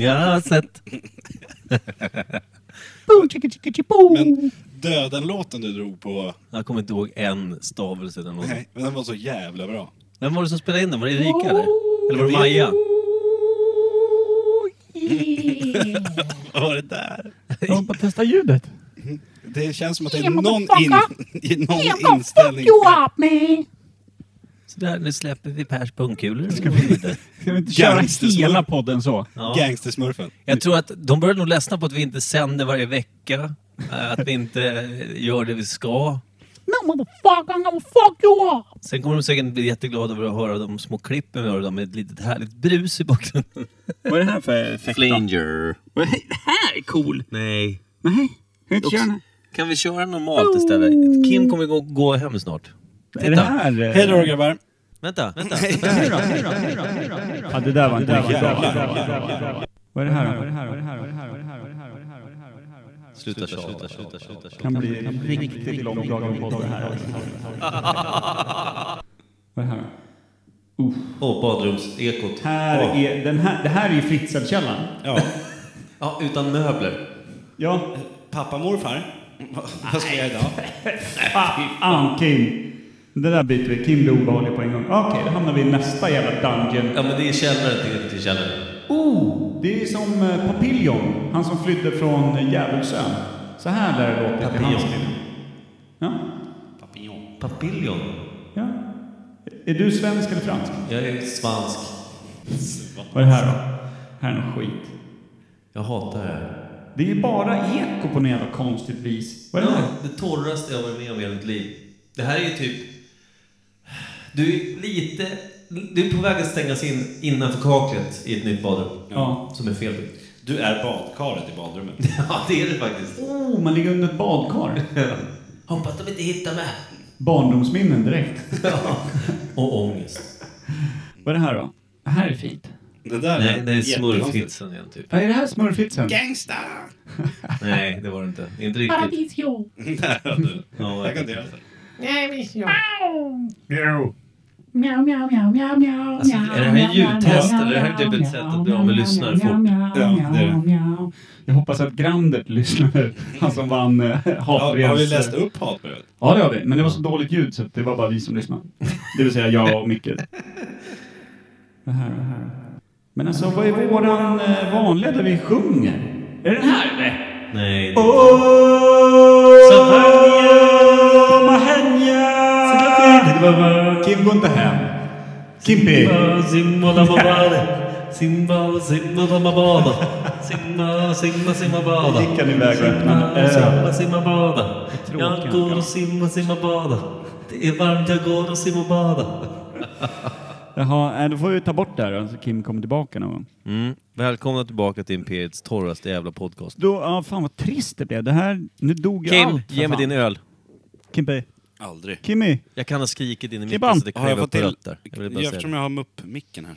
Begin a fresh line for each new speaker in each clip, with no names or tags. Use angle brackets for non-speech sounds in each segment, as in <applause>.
Jag har sett.
Men
<laughs>
Döden-låten du drog på,
Jag kommer inte ihåg en stavelse i den låten.
nej, men den var så jävla bra.
Vem var det som spelade in den? Var det Erika eller? Eller var det Maja?
Vad var
<laughs>
det där?
Jag hoppas testa ljudet.
Det känns som att det är
Yeah,
någon,
motherfucker.
in, <laughs> i
Yeah,
någon
gonna fuck
inställning.
you up, man.
Så där, nu släpper vi Pers pungkulor. och går vidare.
Ska vi inte köra
Gangsters-
hela podden så?
Ja.
Gangstersmurfen.
Jag tror att de börjar nog ledsna på att vi inte sänder varje vecka. eh, Att vi inte eh, gör det vi ska.
No, motherfucker, I'm gonna fuck you up.
Sen kommer de säkert bli jätteglada över att höra de små klippen vi har idag med ett litet härligt brus i bakgrunden.
Vad är det här för effekt
Flinger.
Det här är cool!
Nej.
Nej, jag inte köra den
Kan vi köra normalt istället? Kim kommer gå, gå hem snart.
här. Är det här... eh,
Hej då grabbar.
Vänta, vänta.
Hej då, hej då, hej då, hej då, hej då. Ja, det där var inte riktigt bra.
Jävlar.
Vad är det här då?
Sluta tjata, sluta tjata.
Det kan bli en riktigt lång lång podd det här. alltså. Vad är det här
Åh, badrumsekot.
då? Här är, den här, det här är ju Fritzl-källan.
Ja.
Ja, utan möbler.
Ja.
Pappa morfar. Vad ska jag idag?
<laughs> Fan Kim! Det där byter vi. Kim blir obehaglig på en gång. Okej, då hamnar vi i nästa jävla dungeon.
Ja, men det är källaren till, till källaren.
Oh! Det är som eh, Papillon. Han som flydde från eh, Djävulsön. Så här lär det låta till hans
Papillon.
film. Ja.
Papillon.
ja. Är du svensk eller fransk?
Jag är svansk.
Vad är det här då? Här är någon skit.
Jag hatar det här.
Det är ju bara eko på något jävla konstigt vis. Vad är det här?
Ja, det torraste jag har varit med om i hela mitt liv. Det här är ju typ... Du är lite... Du är på väg att stängas in innanför kaklet i ett nytt badrum.
Ja.
Som är fel.
Du är badkaret i badrummet.
Ja, det är det faktiskt.
Oh, man ligger under ett badkar.
Hoppas de inte hittar mig.
Barndomsminnen direkt.
<laughs> Och ångest.
Vad är det här då? Det här är fint.
<laughs> Det där
Nej, det är
jättekonstigt.
smurfhitsen igen typ.
Vad är det här smurfhitsen?
Gangsta!
Nej, det var det inte. Inte riktigt.
Paradisio.
Ja,
Jag kan inte göra så.
Ow. Meow, meow, meow, meow, meow,
Alltså,
meow,
är det här
meow,
ljudtest,
meow,
eller är det här typ ett
meow,
sätt att
meow,
bli av med
meow,
lyssnare
meow,
fort?
meow,
Ja, det är det.
meow, meow.
Jag hoppas att Grander lyssnar. Han som vann eh,
Har,
hatbrevs...
har vi läst
eh,
upp hatbrevet?
Ja, det har vi. Men det var så dåligt ljud så att det var bara vi som lyssnade. Det vill säga jag och Micke. Det här och det här. Men alltså, vad är våran eh, vanliga där vi sjunger? Är det den här eller?
Nej.
Oh, Mahanya! Kim, gå inte hem. Kimpi!
Simma, simma, simma, simma, bada. Simma, simma, simma, bada.
Gick han iväg och öppnade en öl?
Simma, simma, bada.
Tråkigt.
Jag går och simma, simma, bada. Det är varmt, jag går och simma, bada.
Jaha, nej, då får vi ta bort det här då, så Kim kommer tillbaka någon gång.
Mm. Välkomna tillbaka till Imperiets torraste jävla podcast.
Då, ja, fan vad trist det blev. Det här, nu dog ju
Kim,
allt. för
ge mig
fan.
din öl.
Kimpi.
Aldrig.
Kimmy.
Jag kan ha skrikit in i micken
Klibban.
så det
Har jag
klev
fått
upp
till...
rötter. Jag vill bara säga
Eftersom
det.
jag har mupp-micken här.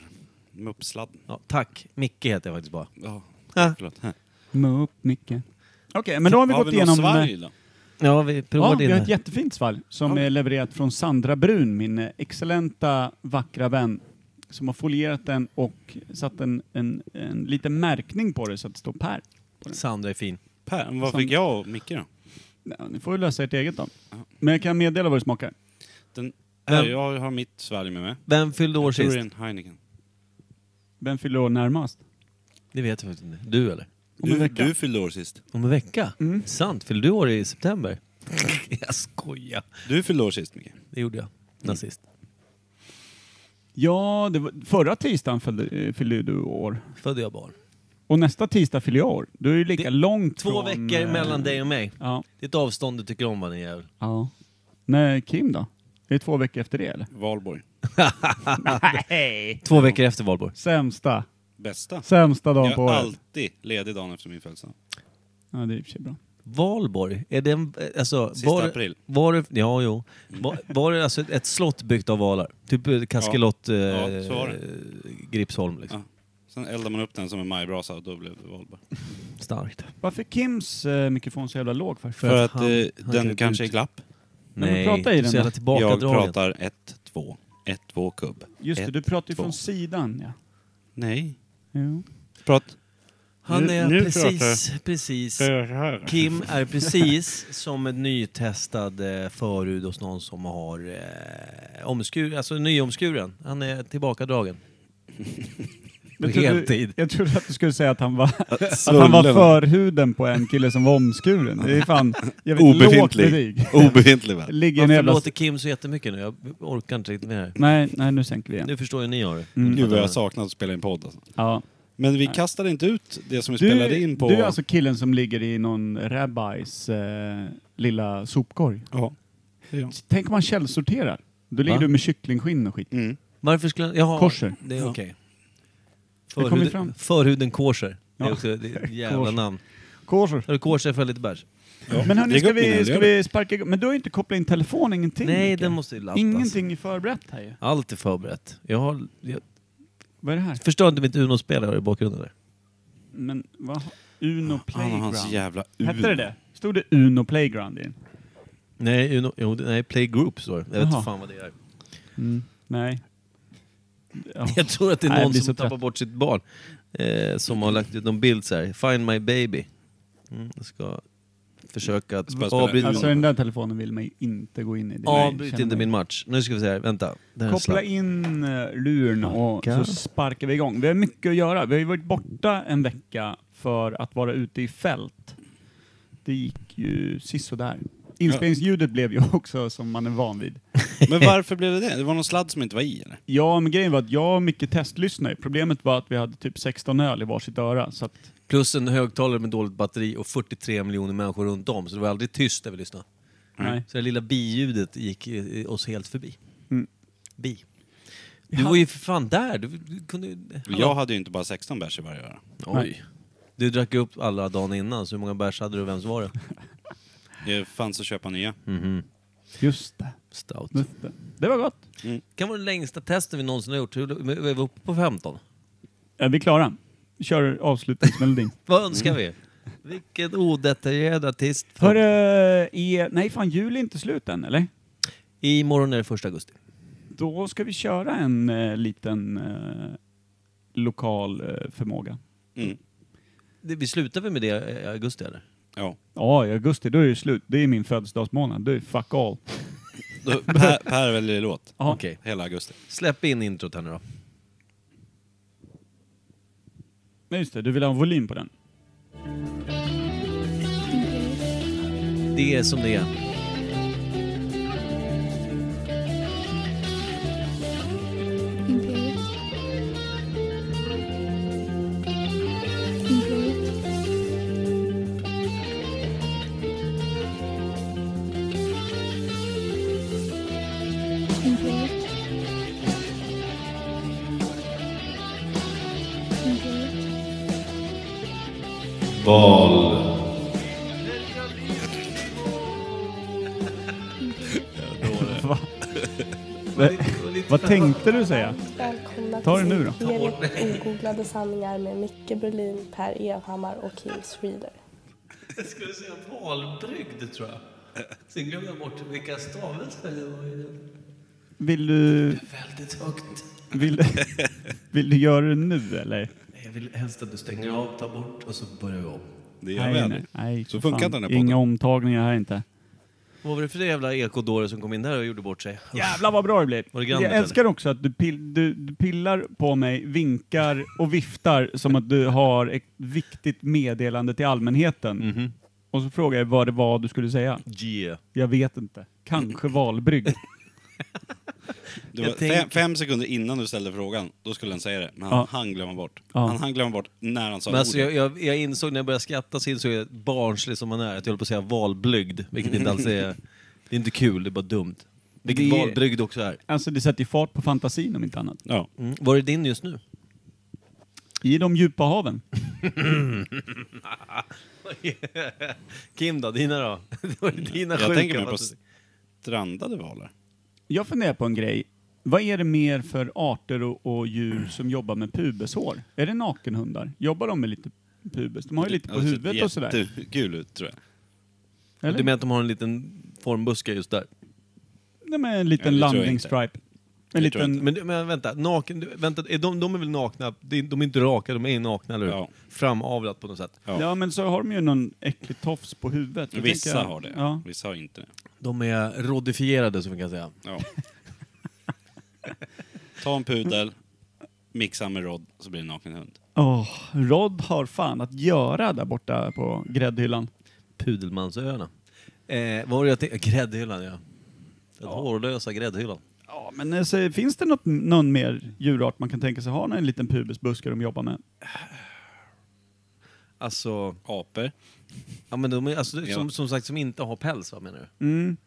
Mupp-sladden.
Ja, tack. Micke heter jag faktiskt bara.
Ja,
Ah.
förlåt. Här.
Må upp mycket. Okej, men då har vi gått igenom... eh,
något svalg då?
Ja, vi provar
Ja,
din.
vi har
här.
ett jättefint svalg som är levererat från Sandra Brun, min eh, excellenta, vackra vän som har folierat den och satt en, en, en liten märkning på det så att det står Per.
Sandra är fin.
Per, men vad
Som-
fick jag och Micke då?
Ja, ni får väl lösa ert eget då. Men jag kan meddela vad det smakar.
Den, här,
Vem?
jag har mitt svalg med mig.
Vem fyllde år
Jag tror det är
sist?
en Heineken.
Vem fyller år närmast?
Det vet jag faktiskt inte. Du eller?
Om en
Du,
vecka.
du fyllde år sist.
Om en vecka? Sant. Fyllde du år i september? <laughs> jag skojar.
Du fyllde år sist, Micke.
Det gjorde jag. Nazist.
Ja, det var, förra tisdagen fyllde, eh, fyllde du år.
Födde jag barn.
Och nästa tisdag fyller jag år. Du är ju lika
Det-
långt
Två
från,
veckor
eh,
mellan dig och mig.
Ja.
Det är ett avstånd du tycker om va din jävel.
ja. Nej, Kim då? Är det två veckor efter det eller?
Valborg.
Två veckor efter valborg.
Sämsta.
Bästa.
Sämsta dagen
Jag
på
är
året.
alltid ledig dagen efter min födelsedag.
Ja, det är i och för sig bra.
Valborg? Är det en, eh, alltså,
Sista
var,
april.
Var det, ja, jo. Var, var det alltså ett slott byggt av valar? Typ eh, Kaskelot, eh,
Ja, så var det.
eh, Gripsholm liksom.
Ja. Sen eldar man upp den som en majbrasa och då blev det valborg.
Starkt.
Varför är Kims eh, mikrofon så jävla låg för?
För att
att han-
eh,
han
den
klev
kanske
ut.
är glapp.
men
Nej,
prata i
du är
den
så jävla
då.
Jag
tillbakadragen.
pratar ett, två. Ett, två kubb.
Just det,
ett,
du pratar ju
två.
från sidan ja.
Nej.
Jo.
Prat.
Han
Nu-
är
nu
precis, precis. Kim är precis som en nytestad eh, förhud hos någon som har eh, omskur, alltså nyomskuren. Han är
<laughs>
tillbakadragen. På
Jag trodde-
heltid.
Jag trodde att du skulle säga att han var, att han var förhuden på en kille som var omskuren. Det är fan jävligt lågt
Obefintlig.
betyg.
Obefintlig
<laughs>
väl?
Ligger en
Varför
jävla...
låter Kim så jättemycket nu? Jag orkar inte riktigt med det här.
Nej, nej, nu sänker vi igen.
Nu förstår ju ni
Mm,
har det.
Gud vad jag saknat att spela in podd alltså.
Ja.
Men vi kastade inte ut det som vi spelade
Du,
in på...
du är alltså killen som ligger i någon rabbis eh, lilla sopkorg.
Ja. Det är jag.
Tänk om man källsorterar. Då ligger
Va?
du med kycklingskinn och skit.
Mm.
Varför skulle han... Jaha,
Korser.
det är
Ja.
okej.
kommer
Förhuden-
fram.
Förhuden Korser. Det är
Ja.
också det är
<laughs>
ett jävla
Korser.
namn.
Korser.
Har du Korser för lite bärs?
Men hörni,
Lägg
ska
upp mina,
vi,
gör
ska
det.
vi sparka igång? Men du har ju inte kopplat in telefon, ingenting.
Nej,
Micke.
den måste ju laddas.
Ingenting är förberett här ju.
Allt är förberett. Jag, har, jag
Vad är det här?
förstår inte mitt Uno-spel jag har i bakgrunden där.
Men vad? Uno
Ah, Han och hans
Playground.
jävla
Hette det det? Stod det Uno Playground i den?
Nej, Uno, jo, det- nej Playgroup står det. Jag vet
Jaha.
inte fan vad det är. <laughs>
Mm.
Nej. Ja.
Jag tror att det är
Nej, jag
någon
blir
som
så trött.
tappar bort sitt barn. Eh, som har lagt ut någon bild så här. Find my baby. Mm, jag ska försöka att
Spela- spela.
avbryta...
Alltså den där telefonen vill man ju inte gå in i. Det
Avbryt
känner
inte
man.
min match. Nu ska vi se här, vänta. Det här är en
Koppla
slapp.
in eh, luren och
Tackar.
så sparkar vi igång. Vi har mycket att göra. Vi har ju varit borta en vecka för att vara ute i fält. Det gick ju sisådär. Inspelningsljudet blev ju <laughs> också som man är van vid.
Men varför blev det det? Det var någon sladd som inte var i eller?
Ja, men grejen var att jag och Micke testlyssnade. Problemet var att vi hade typ 16 öl i varsitt öra. Så att,
Plus en högtalare med dåligt batteri och 43 miljoner människor runt om. Så det var aldrig tyst när vi lyssnade.
nej.
Så det lilla biljudet gick eh, oss helt förbi.
Mm.
Bi. Du var ju för fan där. Du, du kunde...
Jag hade ju inte bara 16 bärs i varje öra.
Oj. Du drack ju upp alla dagen innan, så hur många bärs hade du och vems var det?
Det fanns att köpa nya.
Mm. Just det.
Stout.
Just det. Det var gott.
kan vara den längsta testen vi någonsin har gjort. Hur- Vi var uppe på 15.
Ja, vi är klara. Vi kör avslutningsmelodin.
Vad önskar vi? Vilken odetaljerad artist.
<laughs> Hörru, är... Nej, fan jul är inte slut än, eller?
Imorgon är det första augusti.
Då ska vi köra en eh, liten eh, lokal eh, förmåga.
Mm.
Det- Vi slutar väl med det i augusti eller?
Ja.
Ja, i augusti, då är det slut. Det är min födelsedagsmånad. Då är det fuck all.
Då, per, per väljer låt.
Ja.
Okej.
Hela augusti.
Släpp in introt här nu då.
Men just det, du vill ha en volym på den.
Det är som det <laughs> är.
Imperiet. Imperiet. Imperiet. Imperiet.
Va? Eh, Vad tänkte du säga?
Välkomna
Ta det
till
nu då.
Imperiet Ogooglade sanningar med Micke Berlin, Per Evhammar och Kim Schreeder.
Jag skulle säga valbrygd tror jag. Sen glömde jag bort vilka stavelser det var.
Vill du,
Väldigt högt.
<laughs>
vill, vill du göra det nu eller?
Jag vill helst att du stänger av, tar bort och så börjar vi om.
Det gör vi aldrig.
nej.
Så
för
funkar
fan.
den här podden.
Inga omtagningar här inte.
Vad var det för jävla ekodåre som kom in där och gjorde bort sig?
Jävlar vad bra det blev.
Var det
jag
grandet,
älskar också att du, pill, du, du pillar på mig, vinkar och viftar som att du har ett viktigt meddelande till allmänheten.
Mhm.
Och så frågar jag vad det var du skulle säga.
Yeah.
Jag vet inte.
<laughs>
Kanske valbrygd.
Det
Jag
var
tänker-
fem, fem sekunder innan du ställde frågan, då skulle han säga det. Men han,
Ja.
han glömmer bort.
Ja.
Han, han glömmer bort när han sa
Men alltså,
ordet.
jag, jag, jag insåg när jag började skratta så insåg jag, barnslig som man är, att jag höll på att säga valblygd. Vilket inte alls är... Det är inte kul, det är bara dumt. Vilket
Det-
valbrygd också är.
Alltså det sätter ju fart på fantasin om inte annat.
Ja.
Mm. Var är din just nu?
I de djupa haven.
<laughs> Kim då? Dina då? <laughs> Det var dina
Jag
sjuka
tänker mig på
fantasi.
strandade valar.
Jag funderar på en grej. Vad är det mer för arter och, och djur som jobbar med pubeshår? Är det nakenhundar? Jobbar de med lite pubes? De har ju lite på
Ja, det ser
huvudet och sådär.
Alltså, Jättekul ut tror jag.
Du
Eller?
menar att de har en liten formbuske just där?
Nej, men en
Ja, det
liten
tror jag
landing
inte.
stripe. En
Det tror jag
liten...
Men, men vänta, naken, du- vänta är de, de är väl nakna? De, de är inte raka, de är nakna, eller hur?
Ja.
Framavlat på något sätt.
Ja.
Ja, men så har de ju någon äcklig tofs på huvudet. Jag
Vissa
tänker-
har det,
Ja.
vissa har inte det.
De är rodifierade, som vi kan säga.
Ja. <laughs> Ta en pudel, mixa med rodd, så blir det en naken hund.
Åh, Rod har fan att göra där borta på gräddhyllan.
Pudelmansöarna. Eh, vad var det jag tänkte? Gräddhyllan, ja. Den hårlösa gräddhyllan.
Ja, men alltså, finns det något, någon mer djurart man kan tänka sig ha när en liten pubisbuske de jobbar med?
Alltså,
Apor.
ja, men de är, alltså
Ja.
som, som sagt, som inte har päls, va, menar du?
Mm.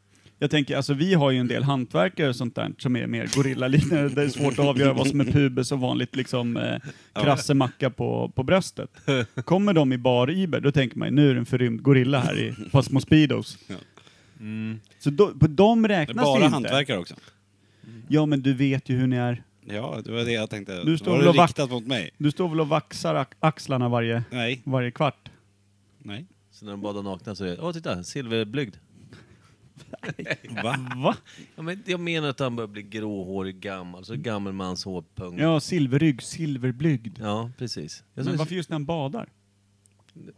Jag tänker, alltså vi har ju en del hantverkare och sånt där som är mer gorillaliknande. Det är svårt att avgöra vad som är pubis och vanligt liksom eh, krassemacka på, på bröstet. Kommer de i bariber, då tänker man ju, nu är det en förrymd gorilla här i ett par små speedos.
Ja.
Så då, på de
Det är
räknas
bara
inte.
hantverkare också.
Ja, men du vet ju hur ni är.
Ja, det var det jag tänkte.
Du står
var
väl och
det
vakt-
riktat mot mig?
Du står väl och vaxar ax- axlarna varje,
Nej,
varje kvart?
nej.
Så när de badar nakna så är det, åh titta, silverblygd.
Va?
Va?
Ja, men jag menar att han börjar bli gråhårig, gammal. Så gammal mans hårpung.
Ja, silverrygg, silverblygd.
Ja, precis. Jag
Men
såg,
varför just när han badar?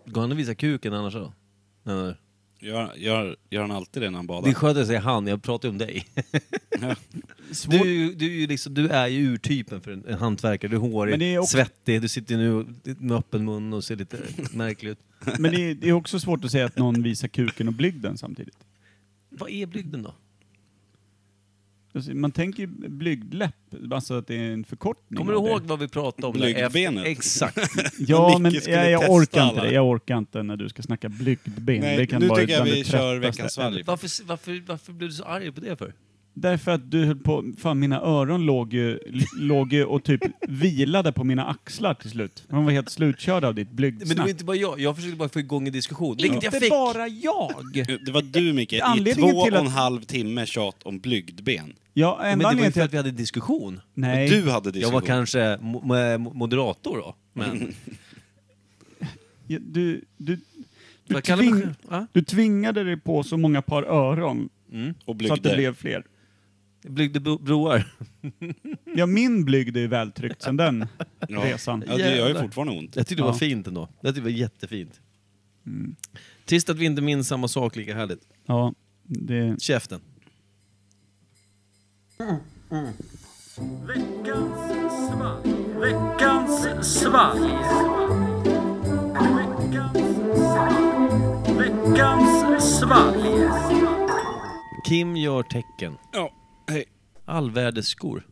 Går han och visar kuken annars då? Nej, nej.
Gör, gör, gör han alltid det när han badar?
Det är skönt att säga han, jag pratar ju om dig.
Ja.
Svårt.
Du, är ju- du, är ju liksom, du är ju urtypen för en, en hantverkare. Du är hårig,
Men det är också-
svettig, du sitter ju nu och- med öppen mun och ser lite märklig ut.
Men det är, det är också svårt att säga att någon visar kuken och blygden samtidigt.
Vad är blygden då?
Alltså, Man tänker ju blygdläpp, alltså att det är en förkortning.
Kommer du
av det.
ihåg vad vi pratade om? där? <laughs>
Blygdbenet.
Exakt.
Ja,
Micke
men
skulle
jag, jag
testa
orkar inte
alla.
det. Jag orkar inte när du ska snacka blygdben.
Nej,
det kan
nu
vara
tycker jag
bland det
vi kör
tröttaste.
veckans svalg.
Varför, varför, varför blev du så arg på det för?
Därför att du höll på... Fan, mina öron låg ju, låg ju och typ vilade på mina axlar till slut. De var helt slutkörda av ditt
Men det var
blygdsnack.
inte bara jag. Jag försökte bara få igång en diskussion. Vilket jag
Inte
fick.
bara jag!
Det var du Micke, i
Anledningen
två
till
och
att-
en halv timme tjat om blygdben.
Ja,
Men
enda
det var ju för
anledningen till
att
att...
vi hade en diskussion.
Nej.
Du hade diskussion.
Jag var kanske mo- mo- moderator då. Men
Ja, Du, du, du,
Vad kallar man
tving-
det? Va?
du tvingade dig på så många par öron
Och
så att det
blygder.
blev fler.
byggde bo- broar.
Ja, min blygd är ju vältryckt sen den
ja.
resan.
Ja, det gör ju
Jävlar.
fortfarande ont.
Jag tyckte det
Ja.
var fint ändå. Jag tyckte det var jättefint.
Mm.
Trist att vi inte minns samma sak lika härligt.
Ja, det...
Käften. Kim gör tecken.
Ja, hej.
Allvädersskor.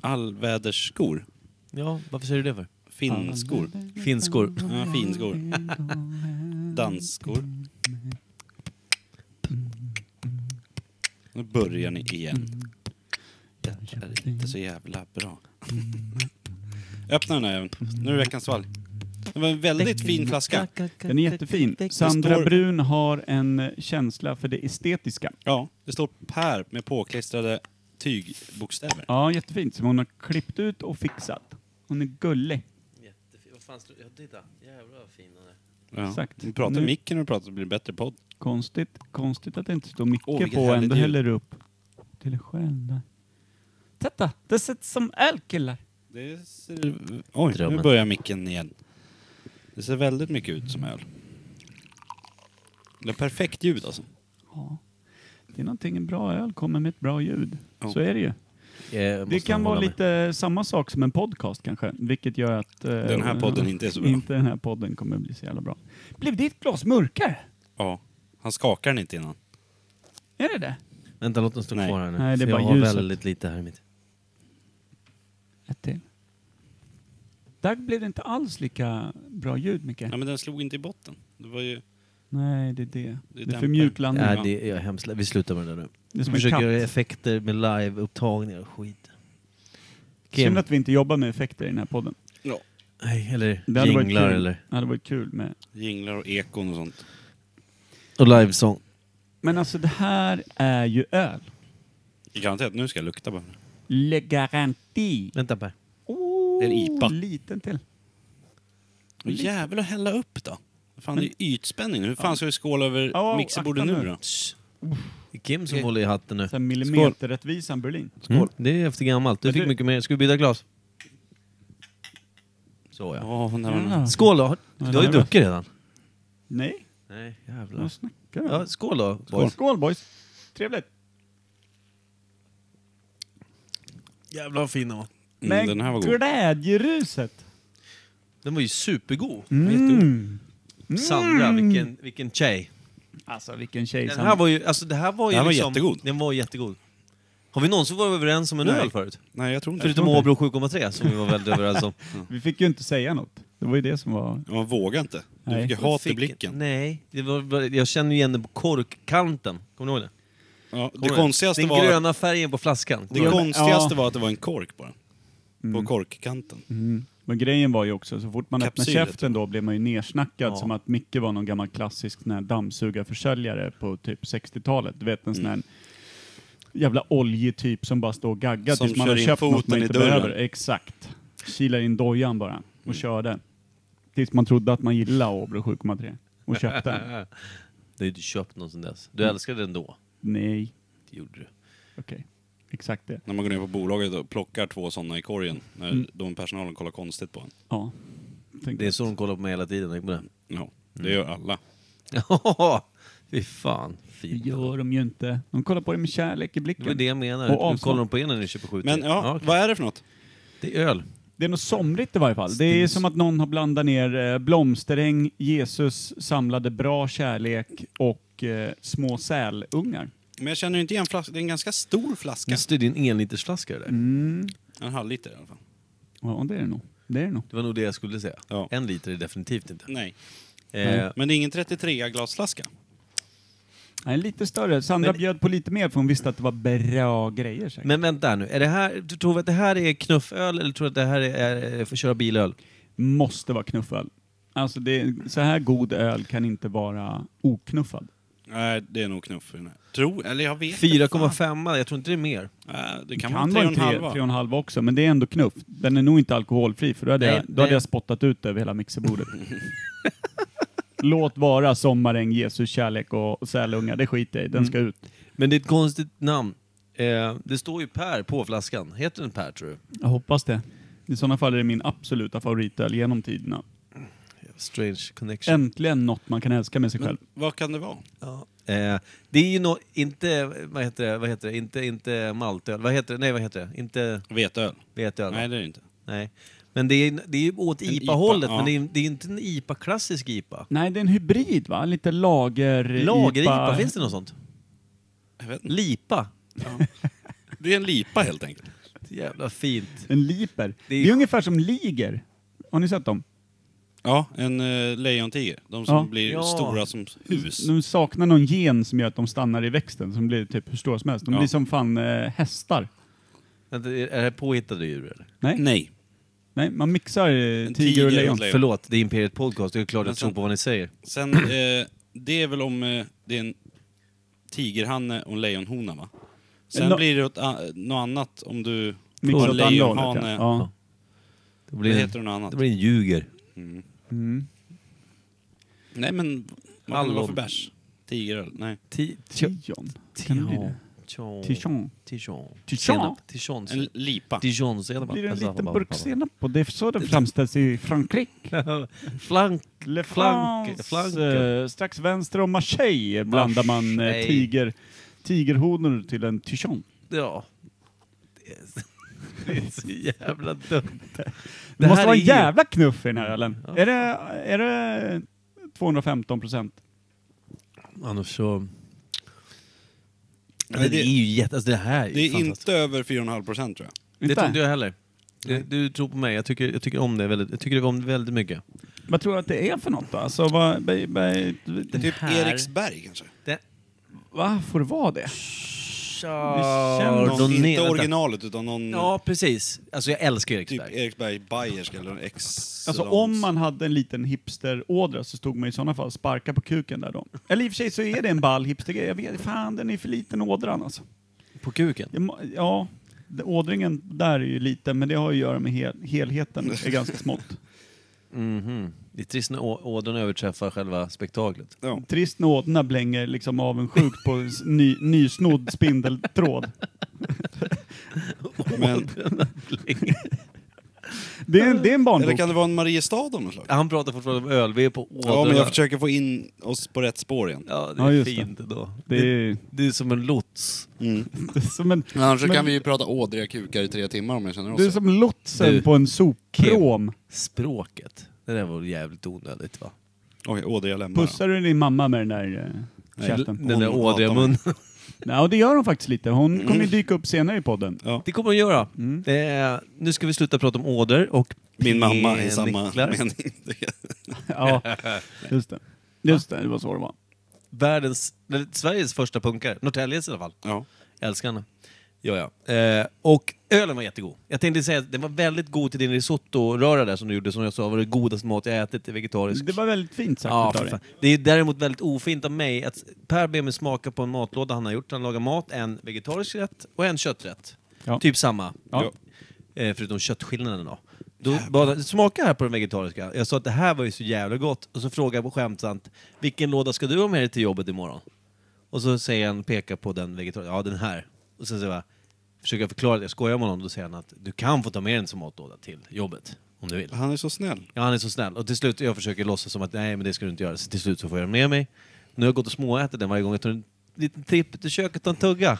Allvädersskor.
Ja, varför säger du det för?
Finskor.
Finskor.
Ja, finskor. Dansskor. Nu börjar ni igen. Det är inte så jävla bra. Öppna den här även. Nu är det veckans svalg. Det var en väldigt fin flaska.
Den är jättefin.
Det
Sandra
står-
Brun har en känsla för det estetiska.
Ja, det står Per med påklistrade tygbokstäver.
Ja, jättefint. Som hon har klippt ut och fixat. Hon är gullig.
Jättefin. Vad fan står det? Ja, titta. Jävlar vad fin den är.
Ja.
Exakt.
Vi pratar
Nu-
i micken och vi pratar så blir det bättre podd.
Konstigt, konstigt att det inte står mycket
Åh, vilket
på och ändå
härligt ljud.
häller du upp till dig själv där. Titta, det sätts som öl killar.
Det ser... Oj,
Drömmen.
nu börjar micken igen. Det ser väldigt mycket ut som öl. Det är perfekt ljud alltså.
Ja. Det är någonting en bra öl kommer med ett bra ljud.
Ja.
Så är det ju.
Eh, Jag måste
Det kan
hålla
vara
med.
lite samma sak som en podcast kanske, vilket gör att... eh,
Den här podden inte är så bra.
Inte den här podden kommer bli så jävla bra. Blev ditt glas mörkare?
Ja. Han skakar den inte innan.
Är det det?
Vänta, låt den stå
Nej.
kvar här nu.
Nej, det är
för
bara
jag har
ljuset.
väldigt lite här i mitt.
Ett till. Där blev det inte alls lika bra ljud, Micke.
Ja, men den slog inte i botten. Det var ju...
Nej, det är det. Det är, för
dämpare.
mjuk landning.
Nej, det är hemskt. Vi slutar med det där nu.
Det är som en
försöker
katt.
göra effekter med live-upptagningar och skit.
Synd
Kim.
att vi inte jobbar med effekter i den här podden.
Ja.
Nej, eller
Det hade varit
jinglar
kul.
eller...
Det hade varit kul med...
Jinglar och ekon och sånt.
Och livesång.
Men alltså det här är ju öl.
Garanterat, nu ska jag lukta bara.
Le Garanti.
Vänta Per.
Oh,
Det är en IPA.
Liten till.
Och jävlar hälla upp då. Fan, det är ju ytspänning nu. Hur fan ska vi skåla över
Ja,
mixerbordet
akta
nu
nu.
då?
Shh. Kim som håller i hatten nu.
Så här millimeterrättvisan Berlin.
Mm. Det är efter gammalt. Du
Men
fick
du-
mycket mer. Ska vi byta glas? Så ja.
Åh, när man...
Ja.
Skål då! Du har ju
det är bra.
druckit redan.
Nej,
Nej,
vad
jävlar.
snackar du
Ja,
om?
skål då,
Skål,
boys.
skål boys! Trevligt!
Jävlar vad fin den var.
Mm, den här var god.
glädjeruset!
Den var ju supergod.
Mm.
Sandra, vilken, vilken tjej.
Alltså vilken tjej
Den
som...
här var ju, alltså det här var ju
Den här var
liksom,
jättegod.
Den var jättegod. Har vi någonsin varit överens om en
Nej.
öl förut?
Nej, jag tror inte
Förutom Åbro 7,3 som vi var väldigt överens om.
Vi fick ju inte säga något. Det var ju det som var...
Man vågar inte. Du
Nej.
fick ju hat i
Fick-
blicken.
Nej, det var, bara- jag känner ju igen den på korkkanten. Kommer du ihåg det?
Ja, det
Kommer du-
konstigaste
den
var...
gröna färgen på flaskan.
Det
Kommer du ihåg
konstigaste
Ja. Mm.
var att det var en kork bara. På korkkanten.
Men grejen var ju också, så fort man öppnade
Kapsylet.
käften då blev man ju nersnackad
Ja.
som att Micke var någon gammal klassisk sån här dammsugarförsäljare på typ 60-talet. Du vet en sån
Mm.
här jävla oljetyp som bara står och gaggar
Som
tills man
kör
har
in
köpt något man
foten i
inte
dörren. Mm.
behöver. Exakt. Kilar in dojan bara och körde. Tills man trodde att man gillade Åbro 7,3 och köpte den.
Du har ju inte köpt någon sedan dess. Du älskade den då.
Nej,
Det gjorde du.
okej. Exakt det.
När man går ner på bolaget och plockar två sådana i korgen. När
Mm.
de personalen kollar konstigt på en.
Ja. Tänkte-
Det är så de kollar på mig hela tiden. tänk på det.
Ja,
Mm.
det gör alla.
<laughs> Ja, fy fan.
Det
Fint.
gör de ju inte. De kollar på det med kärlek i
Det
blicken.
var det jag menar.
Och
Nu
avstånd.
kollar de på er när ni köper
Typ.
7
Men ja,
okej.
vad är det för något?
Det är öl.
Det är något somrigt i varje fall. Det är som att någon har blandat ner eh, blomsteräng, Jesus samlade bra kärlek och eh, små sälungar.
Men jag känner ju inte igen flaskan. Det är en ganska stor flaska.
Just det, det är en enlitersflaska det där.
En halv liter i alla fall.
Ja, det är det nog. Det är det nog.
Det var nog det jag skulle säga.
Ja.
En liter är definitivt inte.
Nej.
Eh,
Men det är ingen 33-glasflaska.
Nej, lite större. Sandra
Men-
bjöd på lite mer för hon visste att det var bra grejer säkert.
men vänta här nu. Är det här, du tror att det här är knufföl eller tror du att det här är, är för att köra bilöl?
Måste vara knuffad. Alltså, det är, så här god öl kan inte vara oknuffad.
Nej, det är nog knuff i den här. Tro, eller jag vet inte, fan.
4,5, jag tror inte det är mer.
Nej, Det
Det
kan,
kan
vara
vara
tre
en
och en
tre-
halva.
tre och en halv också, men det är ändå knuff. Den är nog inte alkoholfri, för då hade,
Nej,
jag, då
nej.
hade jag spottat ut över hela mixerbordet. Låt vara sommaräng, Jesus kärlek och och sälunga, det skiter jag i. Den ska ut.
Men det är ett konstigt namn. Eh, det står ju Per på flaskan. Heter den Per tror du?
Jag hoppas det. I sådana fall är det min absoluta favoritöl genom tiderna.
Strange connection.
Äntligen något man kan älska med sig själv.
Vad kan det vara?
Ja. Eh, det är ju nå inte, vad heter det, vad heter det, inte, inte maltöl, vad heter det, nej vad heter det, inte
Veteöl?
veteöl.
Nej, det är det inte.
Nej. Men det är, det är ju åt
En
IPA-hållet,
IPA,
men det
ja.
är, det är inte en IPA-klassisk IPA.
Nej, det är en hybrid va? Lite lager...
Lager-IPA, finns det något sånt?
Jag vet inte.
Lipa.
Det är en lipa helt enkelt.
Jävla fint.
En liper. Det
är-
är, ungefär som liger. Har ni sett dem?
Ja, en eh, lejontiger. De som
Ja.
blir
Ja.
stora som hus.
De saknar någon gen som gör att de stannar i växten, som blir typ hur stora som helst. De
Ja.
blir som fan eh, hästar.
Vänta, är är det här påhittade djur eller?
Nej,
Nej.
nej man mixar eh,
tiger
tiger
och
och
ett
lejon.
lejon.
Förlåt, det är Imperiet Podcast, det är klart
Men
jag tror
sen-
på vad ni säger.
Sen, eh, det är väl om eh, det är en tigerhanne och en lejonhona va? Sen
Nå-
blir det åt, a- något annat om du
Mixar
har en
åt andra hållet,
lejonhane.
ja.
Ja.
Ja.
Det
Det
blir, en,
heter något annat.
det blir en ljuger.
Mm.
Nej men, vad kan det vara
Hallon.
för bärs? Tigeröl? Nej.
Ti- tjo-
Tion. Kan det bli
Tijon.
det?
Tjon.
Tichon.
Tijon.
Tichon.
Senap. Tichon.
En lipa.
Dijon. senap.
Blir det en
Alltså,
liten
bara-
burk senap på? Det är så det framställs i Frankrike.
Flank.
Le
Flank-
France,
flanken.
eh, strax vänster om Marseille blandar man eh,
Marseille.
tiger, tigerhonor till en tichon.
Ja. Det är så- <laughs> Det är så jävla dumt.
Det, måste
här
vara
är
en
ju-
jävla knuff i den här ölen. Är, det, är det 215 procent?
Annars så...
Nej,
det,
det-
är ju jätte... Alltså det här är,
Det
ju
är
fantastiskt.
inte över 4,5 procent tror jag.
Det tror inte jag heller. Du, du tror på mig. Jag tycker, jag tycker om det väldigt, jag tycker om det väldigt mycket.
Vad tror du att det är för något då? Alltså, vad, ba, ba,
Den
typ
här-
Eriksberg kanske?
Det...
va, får det vara det?
Någon,
Chardonnay,
inte
vänta.
originalet utan någon
Ja, precis. Alltså jag älskar
typ
Eriksberg.
Eriksberg Bayersk eller en ex...
Alltså om man hade en liten hipsterådra så stod man i sådana fall och sparka på kuken där då. Eller i och för sig så är det en ball hipstergrej. Jag vet, fan den är för liten ådran alltså.
På kuken.
Jag må- Ja, det- ådringen där är ju liten men det har ju att göra med hel helheten. Det är ganska smått.
Mhm. Det är trist när å- ådran överträffar själva spektaklet.
<laughs>
Ja.
Trist när ådrorna blänger liksom avundsjukt på s- ny, nysnodd spindeltråd.
Men,
Det är, det är
eller
en barnbok.
kan det vara en Mariestad av något slag?
Han pratar fortfarande om ölv på ådrorna.
Ja, men jag försöker få in oss på rätt spår igen.
Ja, det
Ja,
är
just det.
fint ändå.
Det
Det,
är,
det är som en lots.
det är som en...
Men annars så
Men-
kan vi ju prata ådriga kukar i tre timmar om jag känner oss.
Det är som lotsen
Du.
på en soppråm.
Språket. Det där var jävligt onödigt va?
Oj, ådriga lemmar. ja.
Pussar du din mamma med den där eh, käften?
Den där
Hon pratar
ådriga
om-
munnen. <laughs>
Ja, det gör hon faktiskt lite. Hon kommer
Mm.
ju dyka upp senare i podden.
Det kommer hon göra.
Mm.
Eh, nu ska vi sluta prata om ådror och
Min mamma i samma
peniklar.
mening.
<laughs> Ja, just det. Just det, det var så det var.
Världens, eller, Sveriges första punkare. Norrtäljes i alla fall.
Ja.
Jag älskar henne. Ja, ja. Eh, och ölen var jättegod. Jag tänkte säga att den var väldigt god till din risotto-röra där som du gjorde, som jag sa var det godaste mat jag ätit, vegetarisk.
Det var väldigt fint sagt
Ja,
utav
för
dig.
fan. Det är däremot väldigt ofint av mig att Per ber mig smaka på en matlåda han har gjort. Han lagar mat, en vegetarisk rätt och en kötträtt.
Ja.
Typ samma.
Ja.
Eh, förutom köttskillnaden då. Då bad han, smaka här på den vegetariska. Jag sa att det här var ju så jävla gott. Och så frågade jag på skämtsamt, vilken låda ska du ha med dig till jobbet imorgon? Och så säger han, pekar på den vegetariska, ja den här. Och sen säger jag, försöker jag förklara att jag skojar med honom, då säger han att du kan få ta med den som matlåda till jobbet. Om du vill.
Han är så snäll.
Ja, han är så snäll. Och till slut, jag försöker låtsas som att nej, men det ska du inte göra. Så till slut så får jag den med mig. Nu har jag gått och småätit den varje gång. Jag tar en liten tripp till köket och tar en
<laughs>
tugga.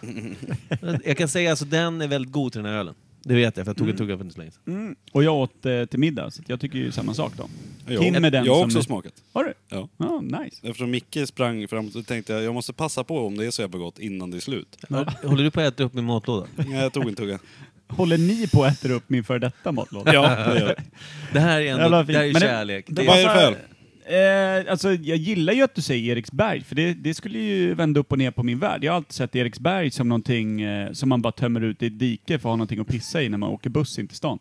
jag kan säga alltså, den är väldigt god till den här ölen. Det vet jag, för jag tog en tugga för inte så länge sedan.
Mm. Och jag åt eh, till middag, så att jag tycker ju samma sak då.
Jag,
In med den
jag har
som
också
är-
smakat.
Har du?
Ja.
Ja, nice.
Eftersom Micke sprang fram så tänkte jag jag måste passa på om det är så jävla gott innan det är slut.
Håller du på att äta upp min matlåda?
Nej, jag tog en tugga.
Håller ni på att äta upp min före detta matlåda?
Ja, det gör
<laughs>
jag.
Det här är ändå
Jävla
det här är
fint. Men det-
kärlek.
det
Det
var
Vad
är,
är det för öl?
Eh, alltså, jag gillar ju att du säger Eriksberg, för det, det skulle ju vända upp och ner på min värld. Jag har alltid sett Eriksberg som någonting eh, som man bara tömmer ut i ett dike för att ha någonting att pissa i när man åker buss in till stan.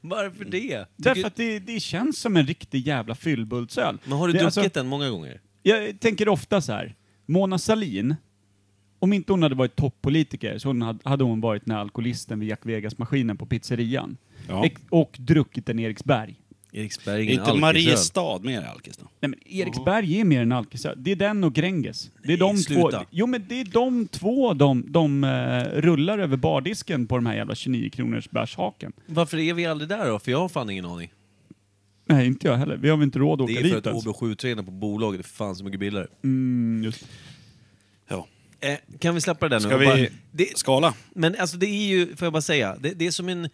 varför det?
Mm. Därför att det, det känns som en riktig jävla fyllbultsöl.
Men har du
det,
druckit
alltså,
den många gånger?
Jag tänker ofta så här. Mona Salin om inte hon hade varit toppolitiker så hon hade, hade hon varit den här alkoholisten vid Jack Vegas-maskinen på pizzerian.
Ja.
Ex- och druckit en Eriksberg.
Eriksberg är
Är
ingen
inte
alkisöl.
Mariestad med i alkis då?
Nej men Eriksberg är mer än alkisöl. Det är den och Gränges. Det är de
Nej,
två.
sluta.
Jo men det är de två de, de eh, rullar över bardisken på de här jävla 29 kronors bärshaken.
Varför är vi aldrig där då? För jag har fan ingen aning.
Nej inte jag heller. Vi har väl inte råd att
Det
åka
är för att
dit ens.
OB7-tränaren på bolaget är fan så mycket billigare.
Mm, just.
Ja.
Eh, kan vi släppa det där nu?
Ska
och bara-
vi
det,
skala?
men alltså det är ju, får jag bara säga, det, det är som en...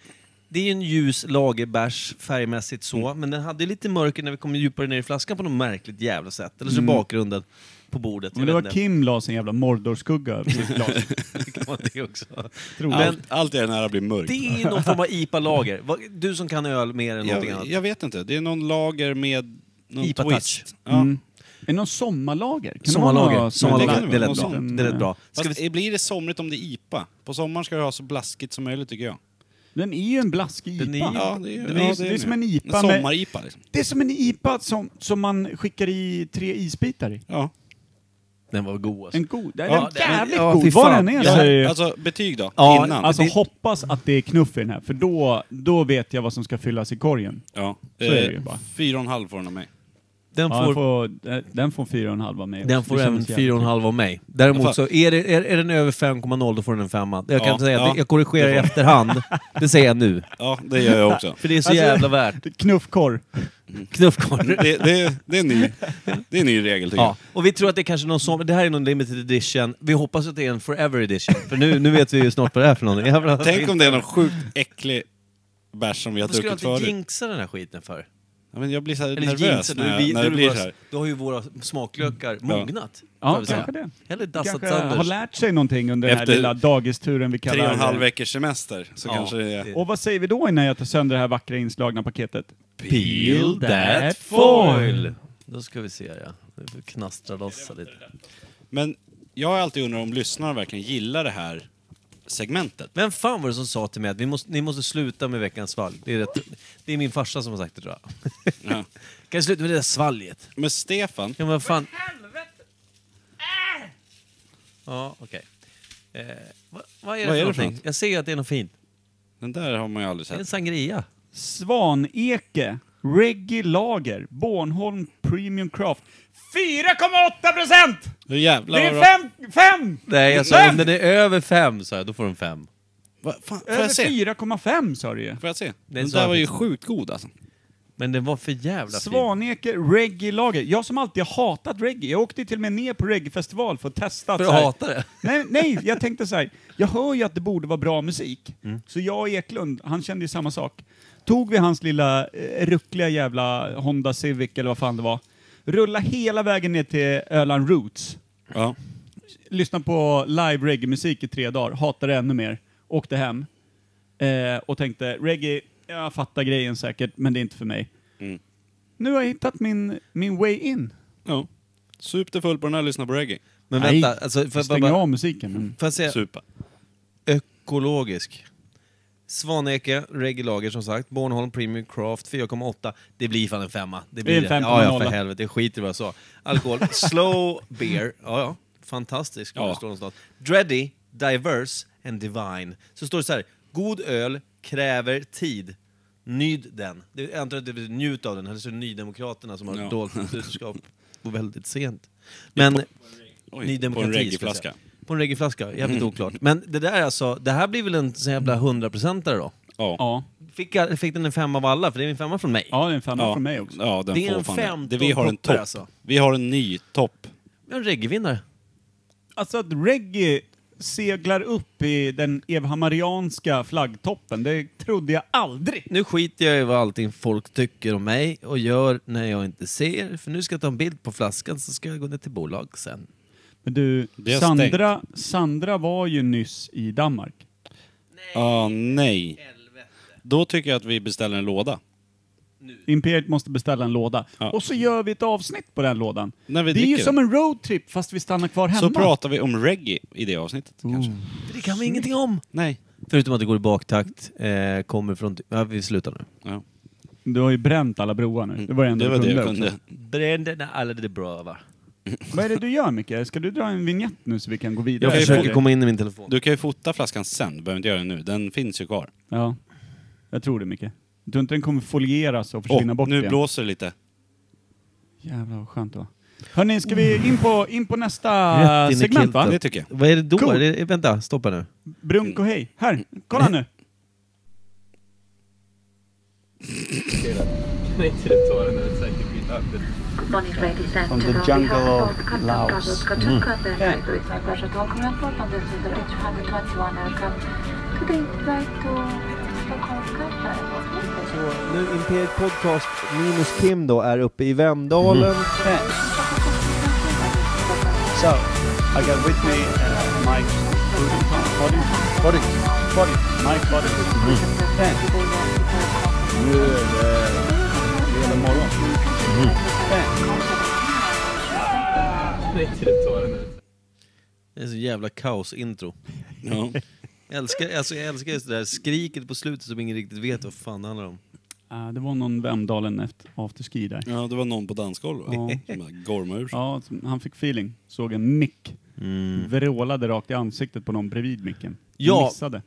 Det är ju en ljus lagerbärs färgmässigt så, men den hade lite mörker när vi kom djupare ner i flaskan på något märkligt jävla sätt. Eller så bakgrunden på bordet.
Men det
jag
var
vet inte.
Kim la sin jävla Mordorskugga över sitt glas.
<laughs> Det var det också.
Troligt.
Men
Allt är nära blir mörkt.
det är ju någon form av IPA-lager. Vad- Du som kan öl mer än någonting
Jag,
annat.
jag vet inte. Det är någon lager med någon
IPA-touch.
twist. Ja.
Mm. Är det någon sommarlager? Kan det vara
Sommarlager.
några-
det
Sommarlager.
kan
Det
vara
lät bra.
något
Det lät bra. Ska
Fast
vi,
det blir det somrigt om det är IPA? På sommaren ska det ha så blaskigt som möjligt tycker jag.
Den är ju en blaskig IPA.
Den är-
Ja, det är, ja,
Den är- det är som en IPA med-
sommar-IPA liksom.
Det är som en IPA som, som man skickar i tre isbitar i.
Ja.
den var god alltså.
En god. Den är
Ja, det-
jävligt
ja, fy
god. Vad
fan.
den är så
Ja,
är det ju-
Alltså betyg då?
Ja,
innan?
alltså
Det-
hoppas att det är knuff i den här, för då, då vet jag vad som ska fyllas i korgen.
ja. eh,
så är det ju bara.
Fyra och en halv får den av mig.
Den
Ja,
får,
Den får, den får fyra och en halv av mig.
den
också.
får
Det
även
känns jävligt
4,5 av mig. Däremot
Fan.
så är, det, är, är den över 5,0 då får den en femma. Jag kan
Ja,
säga,
ja.
att jag korrigerar i efterhand. Det säger jag nu.
Ja, det gör jag
<laughs>
också.
För det är så
Alltså-
jävla värt.
<laughs> kul. Knuffkorv.
Knuffkorv.
det, det, det, är en ny, det är en ny regel tycker
Ja, och vi tror att det är kanske någon som, det här är någon limited edition. Vi hoppas att det är en forever edition, för nu, nu vet vi ju snart vad det är för <laughs> någonting. Jävlar,
jag. Tänk om det är någon sjukt äcklig bärs som vi har
Varför ska
druckit
du alltid
förut.
jinxa den här skiten för?
Ja, men jag blir så här
Eller
nervös
jinxa,
när,
när,
jag,
vi,
när det blir så här.
Då har ju våra smaklökar mognat.
Ja,
får vi säga.
kanske det.
Eller dassat
Kanske har
sönder.
lärt sig någonting under den här
Efter
lilla dagisturen vi kallar
Tre och en halv veckors semester så
Ja,
kanske det
det-
är...
Och vad säger vi då innan jag tar sönder det här vackra inslagna paketet?
Peel
that foil.
Då ska vi se, ja. Nu får vi knastra loss här lite.
Men jag har alltid undrat om lyssnarna verkligen gillar det här segmentet.
Vem fan var det som sa till mig att vi måste, ni måste sluta med veckans svalg? Det är, rätt, det är min farsa som har sagt det tror jag.
Ja.
<laughs> Kan du sluta med det där svalget?
Men Stefan,
Ja, men vad fan... Ja, okej. Eh, vad, vad är det
Vad
för
är det för
någonting?
något?
Jag ser ju att det är något fint.
den där har man ju aldrig
Det är en
sett.
sangria.
Svaneke Reggae Lager, Bornholm Premium Craft. 4,8 procent!
Nu jävlar
Det
vad
är
bra.
fem, fem!
Nej, jag sa
Fem!
om den är över fem, sa jag, då får den fem.
Va, fan, får
Över
jag se?
4,5 sa du ju.
Får jag se?
Nej,
Den
så
där
jag
var ju
liksom-
inte.
sjukt god alltså.
Men den var för jävla fin.
Svaneke Reggae Lager. Jag som alltid har hatat reggae. Jag åkte till och med ner på reggaefestival för att testa. att
För
så
att
här-
hata det.
Nej, nej, jag tänkte så här. Jag hör ju att det borde vara bra musik.
Mm.
Så jag och Eklund, han kände ju samma sak. Tog vi hans lilla eh, ruckliga jävla Honda Civic eller vad fan det var. Rulla hela vägen ner till Öland Roots.
Ja.
Lyssna på live reggae-musik i tre dagar. Hatade det ännu mer. Åkte hem. Eh, och tänkte, reggae, jag fattar grejen säkert, men det är inte för mig.
Mm.
Nu har jag hittat min, min way in.
ja. Sup dig full på den här och lyssna på reggae.
Men
Nej,
vänta, alltså, för,
Jag
för,
stänger
bara, Mm.
av musiken. Men...
för att säga
Supa.
ekologisk. Svaneke, Reggae Lager som sagt, Bornholm Premium Craft 4,8. Det blir fan en femma. Det blir
Det är en
Ja, ja,
5,0.
för helvete. Jag skiter i vad jag sa. Alkohol. Slow Beer. Ja, ja. Fantastisk.
Ja.
Ja. Står någonstans. Dready, Diverse and Divine. Så står det så här. God öl kräver tid. Nyd den. Det- Jag antar att det betyder njut av den. Eller så är det Nydemokraterna som har
Ja.
dolt budskap. Och väldigt sent. Men...
Oj,
Ny
på en Mm.
Demokrati, ska jag
reggaeflaska.
säga. På en reggaeflaska, jävligt oklart. Men det där alltså, det här blir väl en sån jävla hundraprocentare då?
Ja.
Ja.
Fick, jag- fick den en femma av alla? För det är en femma från mig.
ja, det är en femma
Ja.
från mig också.
Ja, den
Det är
får
en
fan det.
15
Vi har en
toppar,
topp.
alltså.
Vi har en ny topp.
Jag är en reggaevinnare.
Alltså att reggae seglar upp i den evhammarianska flaggtoppen, det trodde jag aldrig.
Nu skiter jag i vad allting folk tycker om mig och gör när jag inte ser. För nu ska jag ta en bild på flaskan så ska jag gå ner till bolag sen.
Men du,
Det är
Sandra, Sandra var ju nyss i Danmark.
Ja, nej. Då tycker jag att vi beställer en låda.
Imperiet måste beställa en låda.
Ja.
Och så gör vi ett avsnitt på den lådan.
När vi
det är ju
dricker
som
den.
en roadtrip fast vi stannar kvar hemma. Oh.
Så pratar vi om reggae i det avsnittet kanske.
För det kan vi ingenting om!
Nej.
Förutom att det går i baktakt, eh, kommer från... Ja, vi slutar nu.
Ja.
Du har ju bränt alla broar nu. Det var det enda
Det var det
du kunde.
jag kunde.
också.
Bränderna alla de bröva.
Vad är det du gör Micke? Ska du dra en vignett nu så vi kan gå vidare?
Jag
kan ju
försöker
få-
komma in i min telefon.
Du kan ju fota flaskan sen, du behöver inte göra det nu. Den finns ju kvar.
Ja, jag tror det Micke. Jag tror inte den kommer folieras och försvinna
Åh,
bort
nu
igen.
blåser det lite.
Jävlar vad skönt det var. Hörni, ska vi in på, in på nästa
Rätt in i
segment va?
kilten.
Ah, Det tycker jag.
Vad är det då?
Cool.
Är det, vänta, stoppa nu.
Brunk och hej. Här, kolla
Mm.
nu.
Today, flight to Stockholm Kaplan.
Nu Imperiet Podcast minus Kim då är uppe i Vemdalen.
Mm.
So, I got with me uh, Mike Body. Body. Body. Mike Body. Nu är det fredag morgon.
Det är så jävla kaosintro.
<laughs>
Ja.
Jag älskar, alltså jag älskar just det där skriket på slutet som ingen riktigt vet vad fan det handlar om.
Ah, det var någon Vemdalen efter afterski där.
ja, det var någon på dansgolvet va?
Ja.
som bara gormade ur sig.
Ja, som- han fick feeling. Såg en mick. Vrålade rakt i ansiktet på någon bredvid micken.
Ja.
Missade.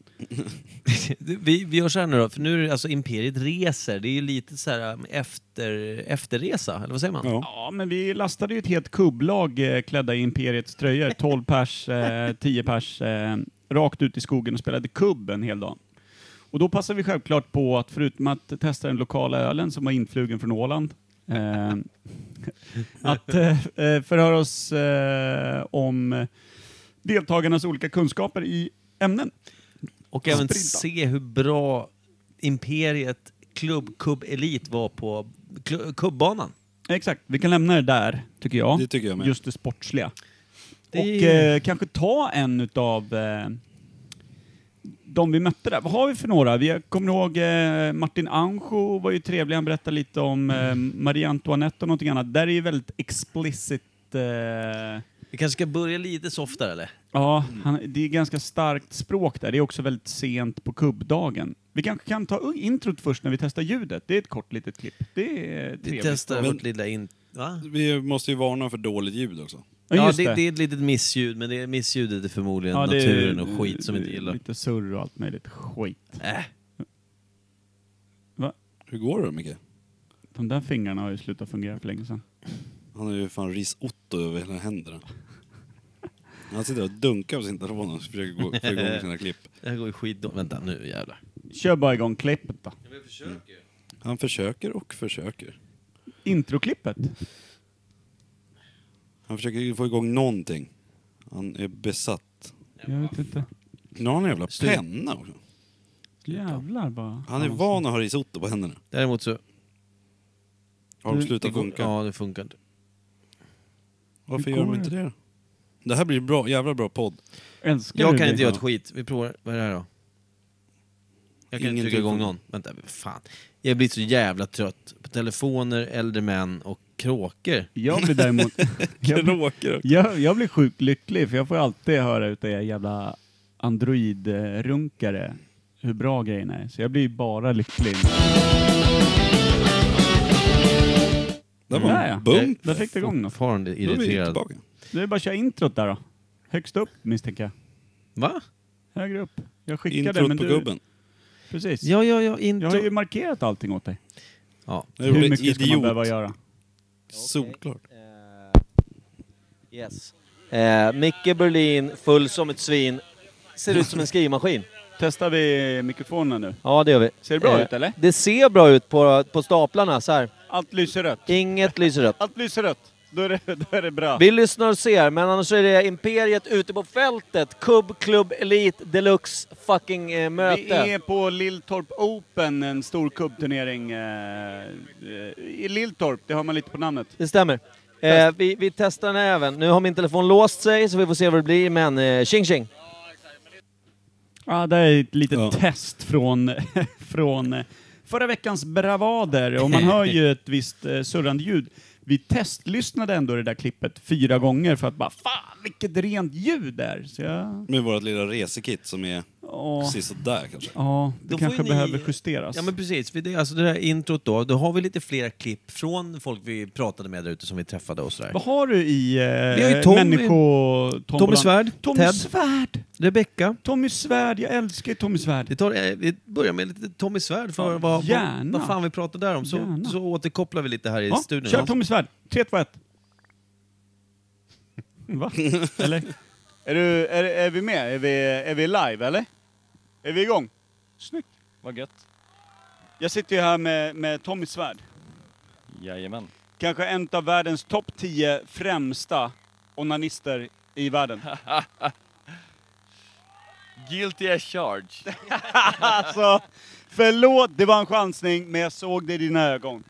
Vi, vi gör så här nu då, för nu är det alltså Imperiet reser. Det är ju lite så här um, efter, efterresa, eller vad säger man?
Ja.
Ja, men vi lastade ju ett helt kubblag eh, klädda i Imperiets <laughs> tröjor. 12 pers, eh, 10 pers, eh, rakt ut i skogen och spelade kubb en hel dag. Och då passade vi självklart på att, förutom att testa den lokala ölen som var influgen från Åland, eh, <laughs> att eh, eh, förhöra oss eh, om deltagarnas olika kunskaper i ämnen.
Och även
Sprinta.
se hur bra Imperiet Club Cup Elite var på kl- kubbanan.
Exakt, vi kan lämna det där, tycker jag.
Det tycker jag med.
Just det sportsliga.
Det-
Och eh, kanske ta en utav eh, de vi mötte där. Vad har vi för några? Vi kommer ihåg eh, Martin Anjo var ju trevlig, han berättade lite om eh, Marie Antoinette och någonting annat. Där är ju väldigt explicit eh,
Vi kanske ska börja lite softare eller?
Ja, han, det är ganska starkt språk där. Det är också väldigt sent på kubbdagen. Vi kanske kan ta introt först när vi testar ljudet. Det är ett kort litet klipp. Det är trevligt.
Vi testar
Men-
vårt lilla in... Va?
Vi måste ju varna för dåligt ljud också.
Ja,
just
det, det. är ett litet missljud, men det missljudet är förmodligen
Ja, det är-
naturen och skit som vi inte gillar.
Lite surr och allt möjligt skit.
Äh.
Hur går det Micke?
De där fingrarna har ju slutat fungera för länge sedan.
Han har ju fan risotto över hela händerna. Han sitter och dunkar på sin telefon och försöker gå, få igång sina klipp.
Det här går ju skit då. Vänta nu jävlar.
Kör bara igång klippet då.
Han försöker och försöker.
Introklippet.
Han försöker ju få igång någonting. Han är besatt.
Jag vet inte.
Nu har han en jävla penna också.
Jävlar bara.
Han är van att ha risotto på händerna.
Däremot så...
Har de
Nu-
slutat
det går-
funka?
Ja, det funkar inte.
Varför
Hur
gör de
går
inte det då? Det här blir bra, jävla bra podd.
Älskar
Jag
du
kan
det?
inte göra ett skit. Vi provar. Vad är det här då? Jag kan inte trycka
Ingenting
igång
funkar.
någon. Vänta, fan. Jag blir så jävla trött på telefoner, äldre män och kråkor.
Jag
<laughs>
blir däremot... jag, blir,
Råkar
jag, jag blir sjukt lycklig för jag får ju alltid höra utav er jävla android-runkare hur bra grejerna är. Så jag blir ju bara lycklig.
Det
Där, ja.
var bump.
Där fick du igång något.
Fortfarande
Då är vi
irriterad.
tillbaka.
Det är bara att köra introt där då. Högst upp misstänker jag.
Va?
Högre upp. Jag skickade men
Introt på
du...
gubben.
Precis.
Ja, ja, ja.
Jag har ju
Inte...
markerat allting åt dig.
Ja.
Jag
Hur
gjorde
mycket ska man behöva
idiot.
göra?
Solklart.
yes. Eh, Micke Berlin, full som ett svin. Ser ut som en skrivmaskin.
Testar vi mikrofonen nu?
Ja, det gör vi.
Ser det bra ut, eller?
Det ser bra ut på, på staplarna så här.
Allt lyser rött.
Inget lyser upp.
Allt lyser rött. Då är det, <laughs> då är det bra.
Vi lyssnar och ser, men annars är det Imperiet ute på fältet. Kubb, klubb, elit, deluxe, fucking eh, möte.
Vi är på Lilltorp Open, en stor kubbturnering. eh, eh, I Lilltorp, det har man lite på namnet.
Det stämmer. Eh, vi, vi testar den här även. Nu har min telefon låst sig, så vi får se vad det blir, men eh, tjing tjing!
Ja, det är ett litet
Ja.
test från, <laughs> från eh, förra veckans bravader och man hör ju ett visst eh, surrande ljud. Vi testlyssnade ändå det där klippet fyra gånger för att bara fan vilket rent ljud det är. Så jag,
Med vårt lilla resekit som är
ja,
precis sådär kanske.
ja, det
Då får
kanske
ni-
behöver justeras.
Ja men precis, Vi- det, alltså det där introt då. Då har vi lite fler klipp från folk vi pratade med där ute som vi träffade och sådär.
Vad har du i
Vi har ju
eh,
Tommy-
människotombolan?
Tommy Svärd,
Tommy
Ted.
Svärd!
Rebecka.
Tommy Svärd, jag älskar Tommy Svärd.
Vi, tar, eh, vi börjar med lite Tommy Svärd för
Ja,
vad, vad,
gärna.
vad fan vi pratade där om. Så,
Gärna.
så återkopplar vi lite här i
Ja,
studion.
kör Tommy Svärd. 3, 2, 1. <laughs> Va? Eller? Är, du, är, är vi med? Är vi, är vi live eller? Är vi igång? Snyggt.
Vad gött.
Jag sitter ju här med, med Tommy Svärd.
Jajamän.
Kanske en av världens topp 10 främsta onanister i världen.
<laughs> Guilty as charged.
<laughs> Alltså, förlåt, det var en chansning, men jag såg det i dina ögon.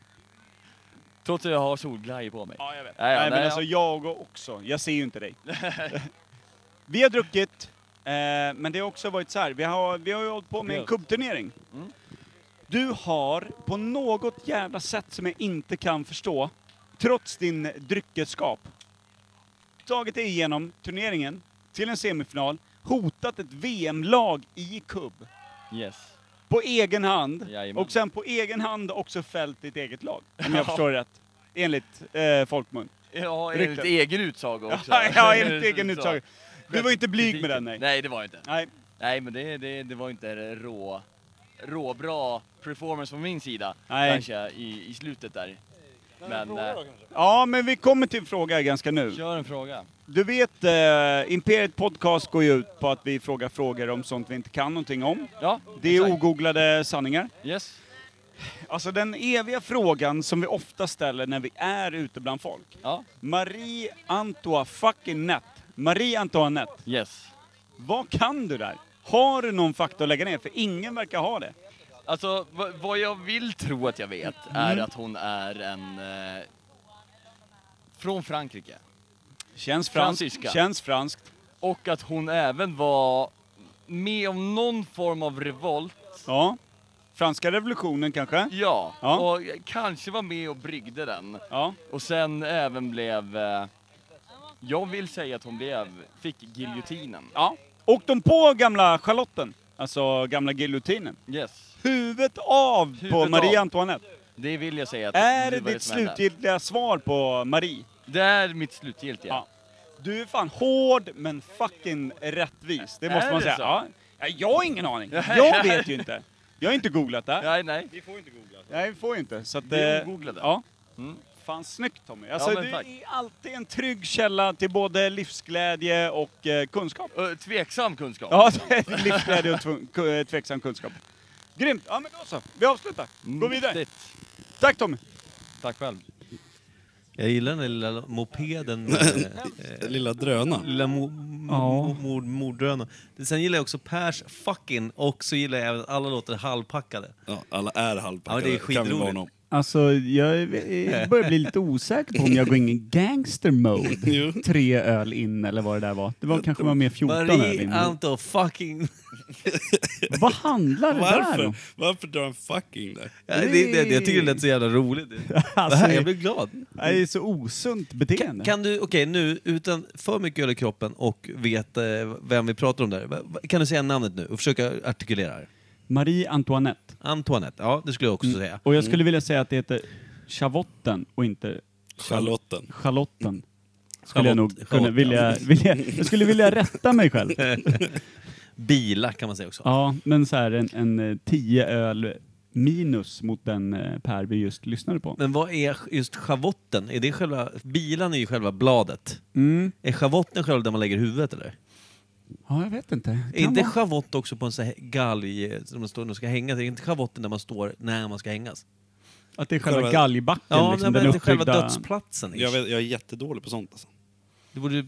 Trots att jag har solglajjor på mig.
Ja, jag vet.
Nej,
Nej,
ja,
men
nej,
alltså jag också. Jag ser ju
<laughs>
inte dig. vi har druckit, eh, men det har också varit så här. Vi har, vi har ju hållit på med en kubbturnering.
Mm.
Du har på något jävla sätt som jag inte kan förstå, trots din dryckenskap, tagit dig igenom turneringen till en semifinal, hotat ett VM-lag i kubb
Yes.
på egen hand
Jajamän.
och sen på egen hand också fällt ditt eget lag, om jag förstår rätt. Enligt eh, folkmun.
Ja,
Ryktet.
enligt egen utsago <laughs> också.
Ja, <laughs> ja, enligt egen utsaga. Du var inte blyg med den, nej.
Nej, det var jag inte.
Nej.
Nej, men det, det, det var inte en rå, råbra performance från min sida.
Nej.
Kanske i, i slutet där. Men, eh,
Ja, men vi kommer till en fråga ganska nu.
kör en fråga.
Du vet, eh, Imperiet Podcast går ju ut på att vi frågar frågor om sånt vi inte kan någonting om.
Ja,
Det är
exakt.
ogooglade sanningar.
Yes.
Alltså den eviga frågan som vi ofta ställer när vi är ute bland folk.
Ja.
Marie Antoinette, fucking net. Marie Antoinette,
Yes.
vad kan du där? Har du någon fakta att lägga ner? För ingen verkar ha det.
Alltså, vad, vad jag vill tro att jag vet
Mm.
är att hon är en... Eh, från Frankrike.
Känns franskt.
Fransyska.
Känns franskt.
Och att hon även var med om någon form av revolt.
Ja. Franska revolutionen kanske?
Ja,
Ja.
och kanske var med och bryggde den.
Ja.
Och sen även blev... Eh, jag vill säga att hon blev, fick giljotinen.
Ja. Åkte de på gamla schalotten? Alltså gamla giljotinen?
Yes,
Huvudet av på
Huvudet
Marie
av.
Antoinette.
det vill jag säga. Att
Är det
var
ditt
som hände.
slutgiltiga svar på Marie?
Det är mitt slutgiltiga.
Ja. Du är fan hård men fucking rättvis, det måste
Är
man
det
säga.
så? <laughs>
Ja. Ja, jag har ingen aning. Jag vet ju inte. Jag har inte googlat det.
Nej, nej.
Vi får inte googla. Nej, vi får inte. Så att,
Vi
eh,
googlade. Mm.
Ja. Fan, snyggt Tommy. Alltså,
men
du
tack.
är alltid en trygg källa till både livsglädje och eh, kunskap.
Tveksam kunskap.
Ja, <laughs> det är livsglädje och tvung- ku- eh, tveksam kunskap. Grymt! Ja, men då så. Vi avslutar. Gå vidare. Tack Tommy!
Tack själv.
Jag gillar den där lilla mopeden. med, <laughs> eh,
lilla drönaren.
Lilla mo, mo,
Ja.
mord, morddrönaren. Sen gillar jag också Pers fucking och så gillar jag även att alla låter halvpackade.
Ja, alla är halvpackade.
Ja, det är
Kan vi varna om.
skitroligt.
Alltså, jag eh, börjar bli lite osäker på om jag går in i
<laughs>
gangster mode. Tre öl in eller vad det där var. Det var kanske var mer 14 öl
Marie
in.
Anto fucking...
Vad handlar det där
Varför?
om?
Varför drar han fucking där?
Ja, det, det, det, jag tycker det lät så jävla
<laughs>
roligt.
Alltså,
det här, jag blir glad.
Det är så osunt beteende.
Kan du, okej nu, utan för mycket öl i kroppen och vet eh, vem vi pratar om där. Va- va- Kan du säga namnet nu och försöka artikulera det?
Marie Antoinette.
Antoinette, ja det skulle jag också säga.
Och jag skulle vilja säga att det heter Chavotten och inte
Charlotten.
Charlotten. Skulle jag
Charlotte-
nog kunna
Charlotte,
vilja,
ja.
vilja, jag skulle <laughs> vilja rätta mig själv.
Bila kan man säga också.
Ja, men så här en, en eh, 10 öl minus mot den eh, Per vi just lyssnade på.
Men vad är just schavotten? Är det själva, bilan är ju själva bladet.
Mm.
Är schavotten själva där man lägger huvudet eller?
Ja, jag vet inte.
Är inte schavott också på en sån här galg eh, som man står när man ska hängas? Är inte schavotten där man står när man ska hängas?
Att det är själva galgbacken,
Ja,
liksom,
nej,
den
men det är själva
uppbyggda-
dödsplatsen.
Jag, vet, jag är jättedålig på sånt alltså.
Du borde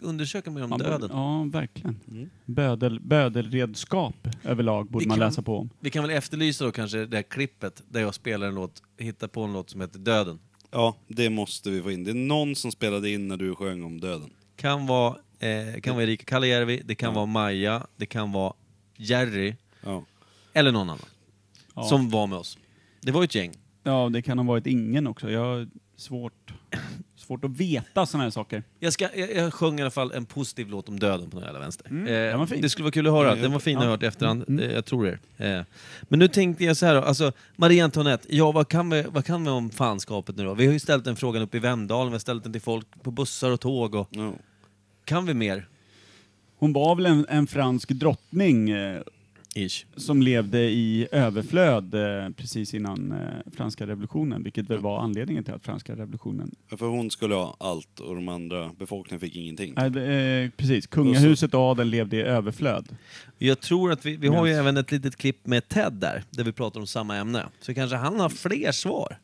undersöka mer om
Man borde-
döden.
Ja, verkligen. Bödel, bödelredskap överlag borde
Vi
man
kan-
läsa på om.
Vi kan väl efterlysa då kanske det här klippet där jag spelar en låt, hittar på en låt som heter Döden.
Ja, det måste vi få in. Det är någon som spelade in när du sjöng om döden.
Kan vara, eh, kan vara Erika Kalajärvi, det kan vara Maja, det kan vara Jerry.
Ja.
Eller någon annan.
Ja.
Som var med oss. Det var ju ett gäng.
Ja, det kan ha varit ingen också. Jag har svårt, svårt att veta sådana här saker.
Jag, ska, jag, jag sjöng i alla fall en positiv låt om döden på den jävla vänster.
Mm,
Eh,
den var fin.
Det skulle vara kul att höra.
Ja,
Den var fin att
Mm. ja. Mm.
ha hört i efterhand. Eh, jag tror det. Eh, men nu tänkte jag så här då. Alltså, Marie Antoinette, ja, vad, kan vi, vad kan vi om fanskapet nu då? Vi har ju ställt den frågan uppe i Vemdalen, vi har ställt den till folk på bussar och tåg. Och, Kan vi mer?
Hon var väl en, en fransk drottning eh,
Ish.
som levde i överflöd eh, precis innan eh, franska revolutionen, vilket väl var anledningen till att franska revolutionen...
Ja, För hon skulle ha allt och de andra befolkningen fick ingenting.
Nej, det, eh, precis, kungahuset och adeln levde i överflöd.
Jag tror att vi, vi har ju även ett litet klipp med Ted där, där vi pratar om samma ämne. Så kanske han har fler svar.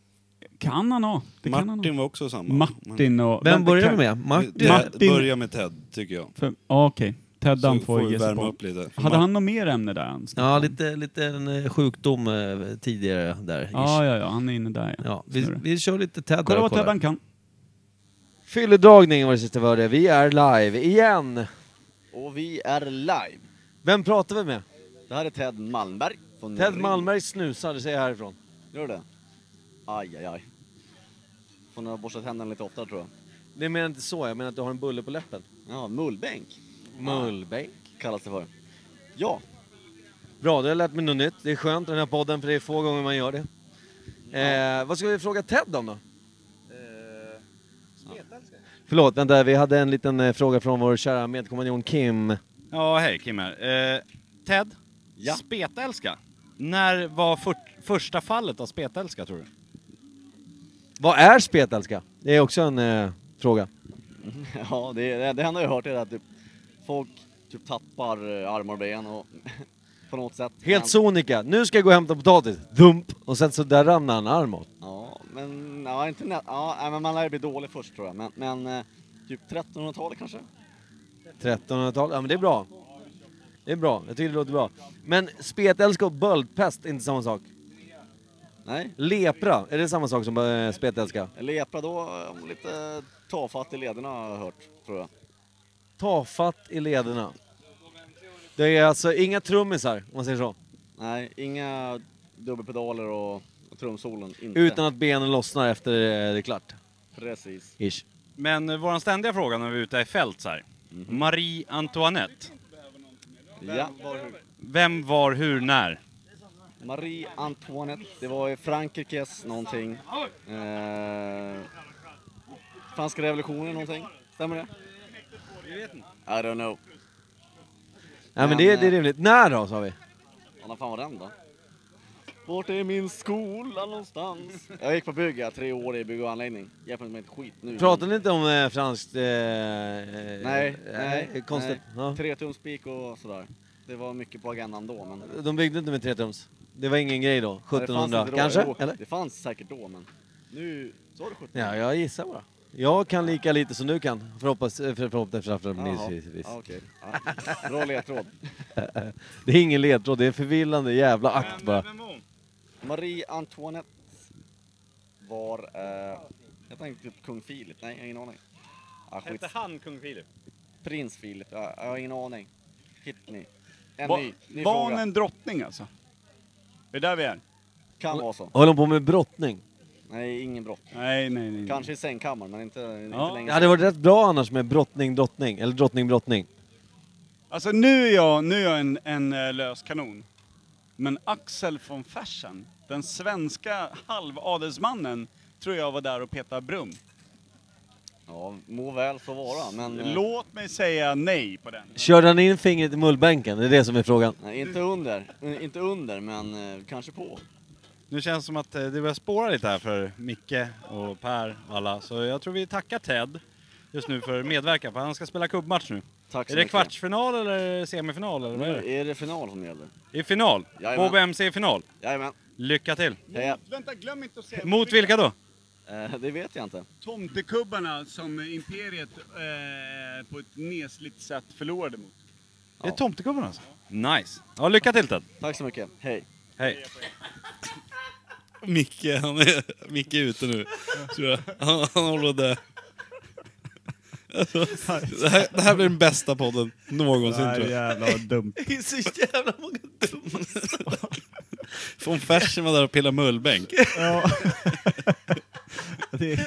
Kan han ha? Det kan han ha.
Martin var också samma.
Martin och...
Vem börjar
kan-
vi med? Martin?
Martin.
Martin-
Börja med Ted, tycker jag.
För- Ja, Okej, Ted
Så
Damm
får
får
vi
ge sig
värma
på.
upp lite.
Hade han något mer ämne där? Han snackade
Ja,
om?
lite, lite en eh, sjukdom eh, tidigare där. ish.
Ja, ja, ja, han är inne där ja.
Ja, vi,
Snurra.
vi kör lite Ted
Kolla vad Ted han kan.
Fylledragning var det sista vi hörde. Vi är live igen.
Och vi är live.
Vem pratar vi med?
Det här är Ted Malmberg. Från
Ted
Ring-
Malmberg snusar, det säger jag härifrån.
Gör det? Aj, aj, aj. Får nog ha borstat händerna lite oftare tror jag.
Det menar inte så, jag menar att du har en bulle på läppen.
Ja, mullbänk.
Mullbänk.
Kallas det för. Ja.
Bra, då har jag lärt mig något nytt. Det är skönt den här podden för det är få gånger man gör det. Eh, vad ska vi fråga Ted om då? Förlåt, vänta. Vi hade en liten eh, fråga från vår kära medkompanjon Kim.
Ja, hej Kim här. Eh, Ted, spetälska. När var för- första fallet av spetälska tror du?
Vad är spetälska? Det är också en eh, fråga.
Ja, det, det, det enda jag har hört är att typ, folk typ tappar eh, armar och ben och <laughs> på något sätt.
Helt sonika. Nu ska jag gå och hämta potatis. Dump! Och sen så där ramlar en arm åt.
Ja, men ja, inte nä- ja, nej, men man lär ju bli dålig först tror jag. Men, men eh, typ 1300-talet kanske?
1300-tal. Ja men det är bra. Det är bra. Jag tycker det låter bra. Men spetälska och böldpest är inte samma sak.
Nej.
Lepra, är det samma sak som eh, spetälska?
Lepra då, eh, lite tafatt i lederna har jag hört tror jag.
Tafatt i lederna. Det är alltså inga trummisar, om man säger så.
Nej, inga dubbelpedaler och och trumsolon. Inte.
Utan att benen lossnar efter eh, det är klart.
Precis.
Ish.
Men eh, våran ständiga fråga när vi är ute i fält så här.
Mhm.
Marie Antoinette.
Ja.
Vem var hur när?
Marie Antoinette, det var i Frankrikes någonting. Eh, franska revolutionen någonting. Stämmer det? I don't know. Mm.
Nej men det, är- det är rimligt. När då, sa vi?
Ja, När fan var den då? Vart är min skola någonstans? Jag gick på bygg, jag, tre år i bygg och anläggning. Hjälper inte mig ett skit nu.
Pratar ni inte om eh, franskt... Eh,
Nej,
eh,
nej,
Konstigt.
nej. Tretumspik och sådär. Det var mycket på agendan då, men...
De byggde inte med tretums. Det var ingen grej då.
Ja, det fanns
1700
inte då.
kanske?
Jo,
Eller?
Det fanns säkert då, men nu... Så var det 1700.
Ja, jag gissar bara. Jag kan lika lite som du kan. Förhoppas, eh, för, förhoppningsvis. förhoppningsvis.
Ja, okej. Ja. Bra ledtråd.
Det är ingen ledtråd, det är en förvillande jävla akt bara.
Marie Antoinette var... Eh, jag tänkte typ kung Filip. Nej, jag har ingen aning. Ah, skit.
Hette han kung Filip?
Prins Filip. Ja, jag har ingen aning. Hit me. En
Va-
ny, ny
var
fråga.
han en drottning alltså? Det är där vi är.
Kan vara så.
Håller de på med brottning?
Nej, ingen brott.
Nej, nej, nej.
Kanske i sängkammaren, men inte, inte
Ja.
länge
Det hade varit rätt bra annars med brottning, drottning. Eller drottning, brottning.
Alltså nu är jag, nu är jag en, en eh, lös kanon. Men Axel von Fersen, den svenska halvadelsmannen, tror jag var där och petade brum.
Ja, må väl så vara, men... eh,
Låt mig säga nej på den.
Körde han in fingret i mullbänken? Det är det som är frågan.
Nej, inte under. Eh, Inte under, men eh, kanske på.
Nu känns det som att eh, det börjar spåra lite här för Micke och Per och alla. Så jag tror vi tackar Ted just nu för medverkan, för han ska spela kubbmatch nu.
Tack så
är det
mycket.
kvartsfinal eller semifinal eller vad är det?
Är det final som gäller?
Det är final!
Jajamän.
KBMC är final!
Jajamän.
Lycka till!
Heja.
Vänta, glöm inte att säga...
Mot vilka då?
Eh, det vet jag inte.
Tomtekubbarna som Imperiet eh, på ett nesligt sätt förlorade mot.
Det är tomtegubben alltså? Nice! Ja, lycka till Ted!
Tack så mycket, hej!
Hej!
Micke, han är, Micke är ute nu. Tror jag. Han, han håller där. Alltså, Det här, det här blir den bästa podden någonsin
Nej,
tror jag.
jävlar vad dumt.
Det är så jävla många dumma
Von Fersen var där och pillade mullbänk.
Ja.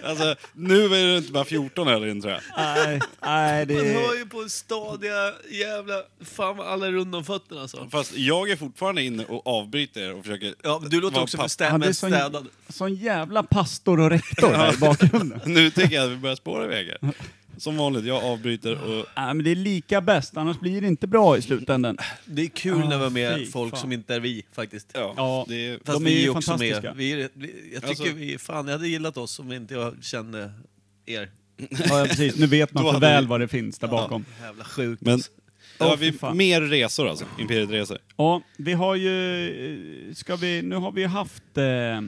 Alltså, nu är det inte bara 14 heller in tror jag.
<laughs> Nej, nej
det-
Man
Eh.
hör ju på stadiga jävla... Fan vad alla är runt om fötterna alltså.
Fast jag är fortfarande inne och avbryter er och försöker...
Ja, du låter också för stä-
är
mest
sån,
städad.
sån jävla pastor och rektor här i bakgrunden.
Nu tycker jag att vi börjar spåra iväg här. Som vanligt, jag avbryter och...
Nej, men det är lika bäst, annars blir det inte bra i slutändan.
Det är kul när vi är med folk som inte är vi faktiskt.
Ja, det är-
Fast
de är
vi
ju
är också
fantastiska.
med. Vi är, vi, jag tycker
Alltså-
vi, fan jag hade gillat oss om inte jag kände er.
Ja, ja, precis. Nu vet man
Då
för
hade
väl
vi-
vad det finns där bakom.
Ja, jävla sjukt.
Men,
Åh,
ja,
fy
vi,
fan.
mer resor alltså, Imperiet Resor.
Ja, vi har ju... eh, Ska vi... Nu har vi haft... Eh,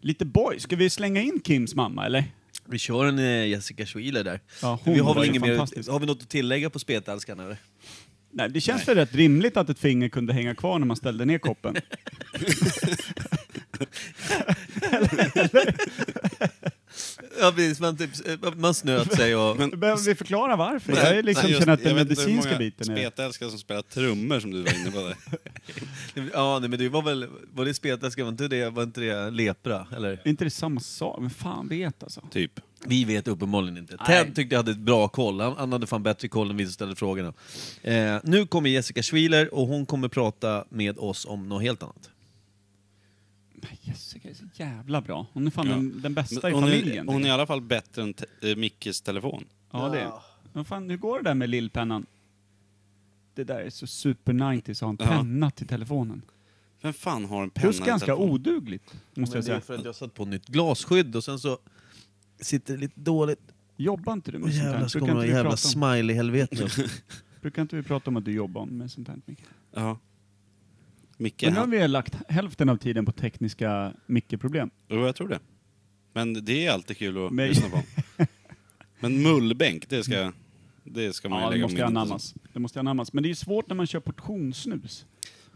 lite boy. Ska vi slänga in Kims mamma, eller?
Vi kör en eh, Jessica Schuyler där.
Ja, hon
vi har,
var
väl
ju
inget mer,
fantastisk.
har vi något att tillägga på spetälskarna eller?
Nej, det känns väl rätt rimligt att ett finger kunde hänga kvar när man ställde
<laughs>
ner koppen.
Ja, precis, man, typ, eh, man snöt sig <laughs> och...
Behöver vi förklara varför? jag är liksom
Nej, just-
känner att den
jag vet inte hur
medicinska
många
biten är...
spetälskare som spelar trummor som du var inne på
<laughs>
där.
ja, nej, men det var väl... Var det spetälska? Var inte det, var inte det lepra? Eller?
Är inte det samma sak? Men fan vet alltså.
Typ.
Vi vet uppenbarligen inte.
Nej.
Ted tyckte jag hade ett bra koll. Han, han hade fan bättre koll än vi som ställde frågorna. Eh, nu kommer Jessica Schuyler och hon kommer prata med oss om något helt annat.
Jessica är så jävla bra. Hon är fan
Ja.
den, den bästa
Men
i
hon
familjen.
Är, hon är i alla fall bättre än te- eh, Mickes telefon.
Ja, det är Men fan, hur går det där med lillpennan? Det där är så super 90s att ha en
Ja.
penna till telefonen.
Vem fan har en penna
Plus
i
ganska
telefonen?
odugligt, måste
Men
jag
det är
säga.
för att jag satt på nytt glasskydd och sen så sitter det lite dåligt.
Jobbar inte du
Och
med sånt
jävlar
här?
så
Brukar
kommer
inte,
det
vi
jävla
prata om, <laughs>
smiley-helvete.
brukar inte vi prata om att du jobbar med sånt här, Micke?
Ja. Micke,
Men nu har
han...
vi lagt hälften av tiden på tekniska Micke-problem.
Jo, jag tror det. Men det är alltid kul att
Men-
lyssna
<laughs>
på. Men mullbänk, det ska, det ska man
Mm.
ju
Ja, det
lägga
måste
minnet
anammas. Det måste anammas. Men det är ju svårt när man kör portionssnus.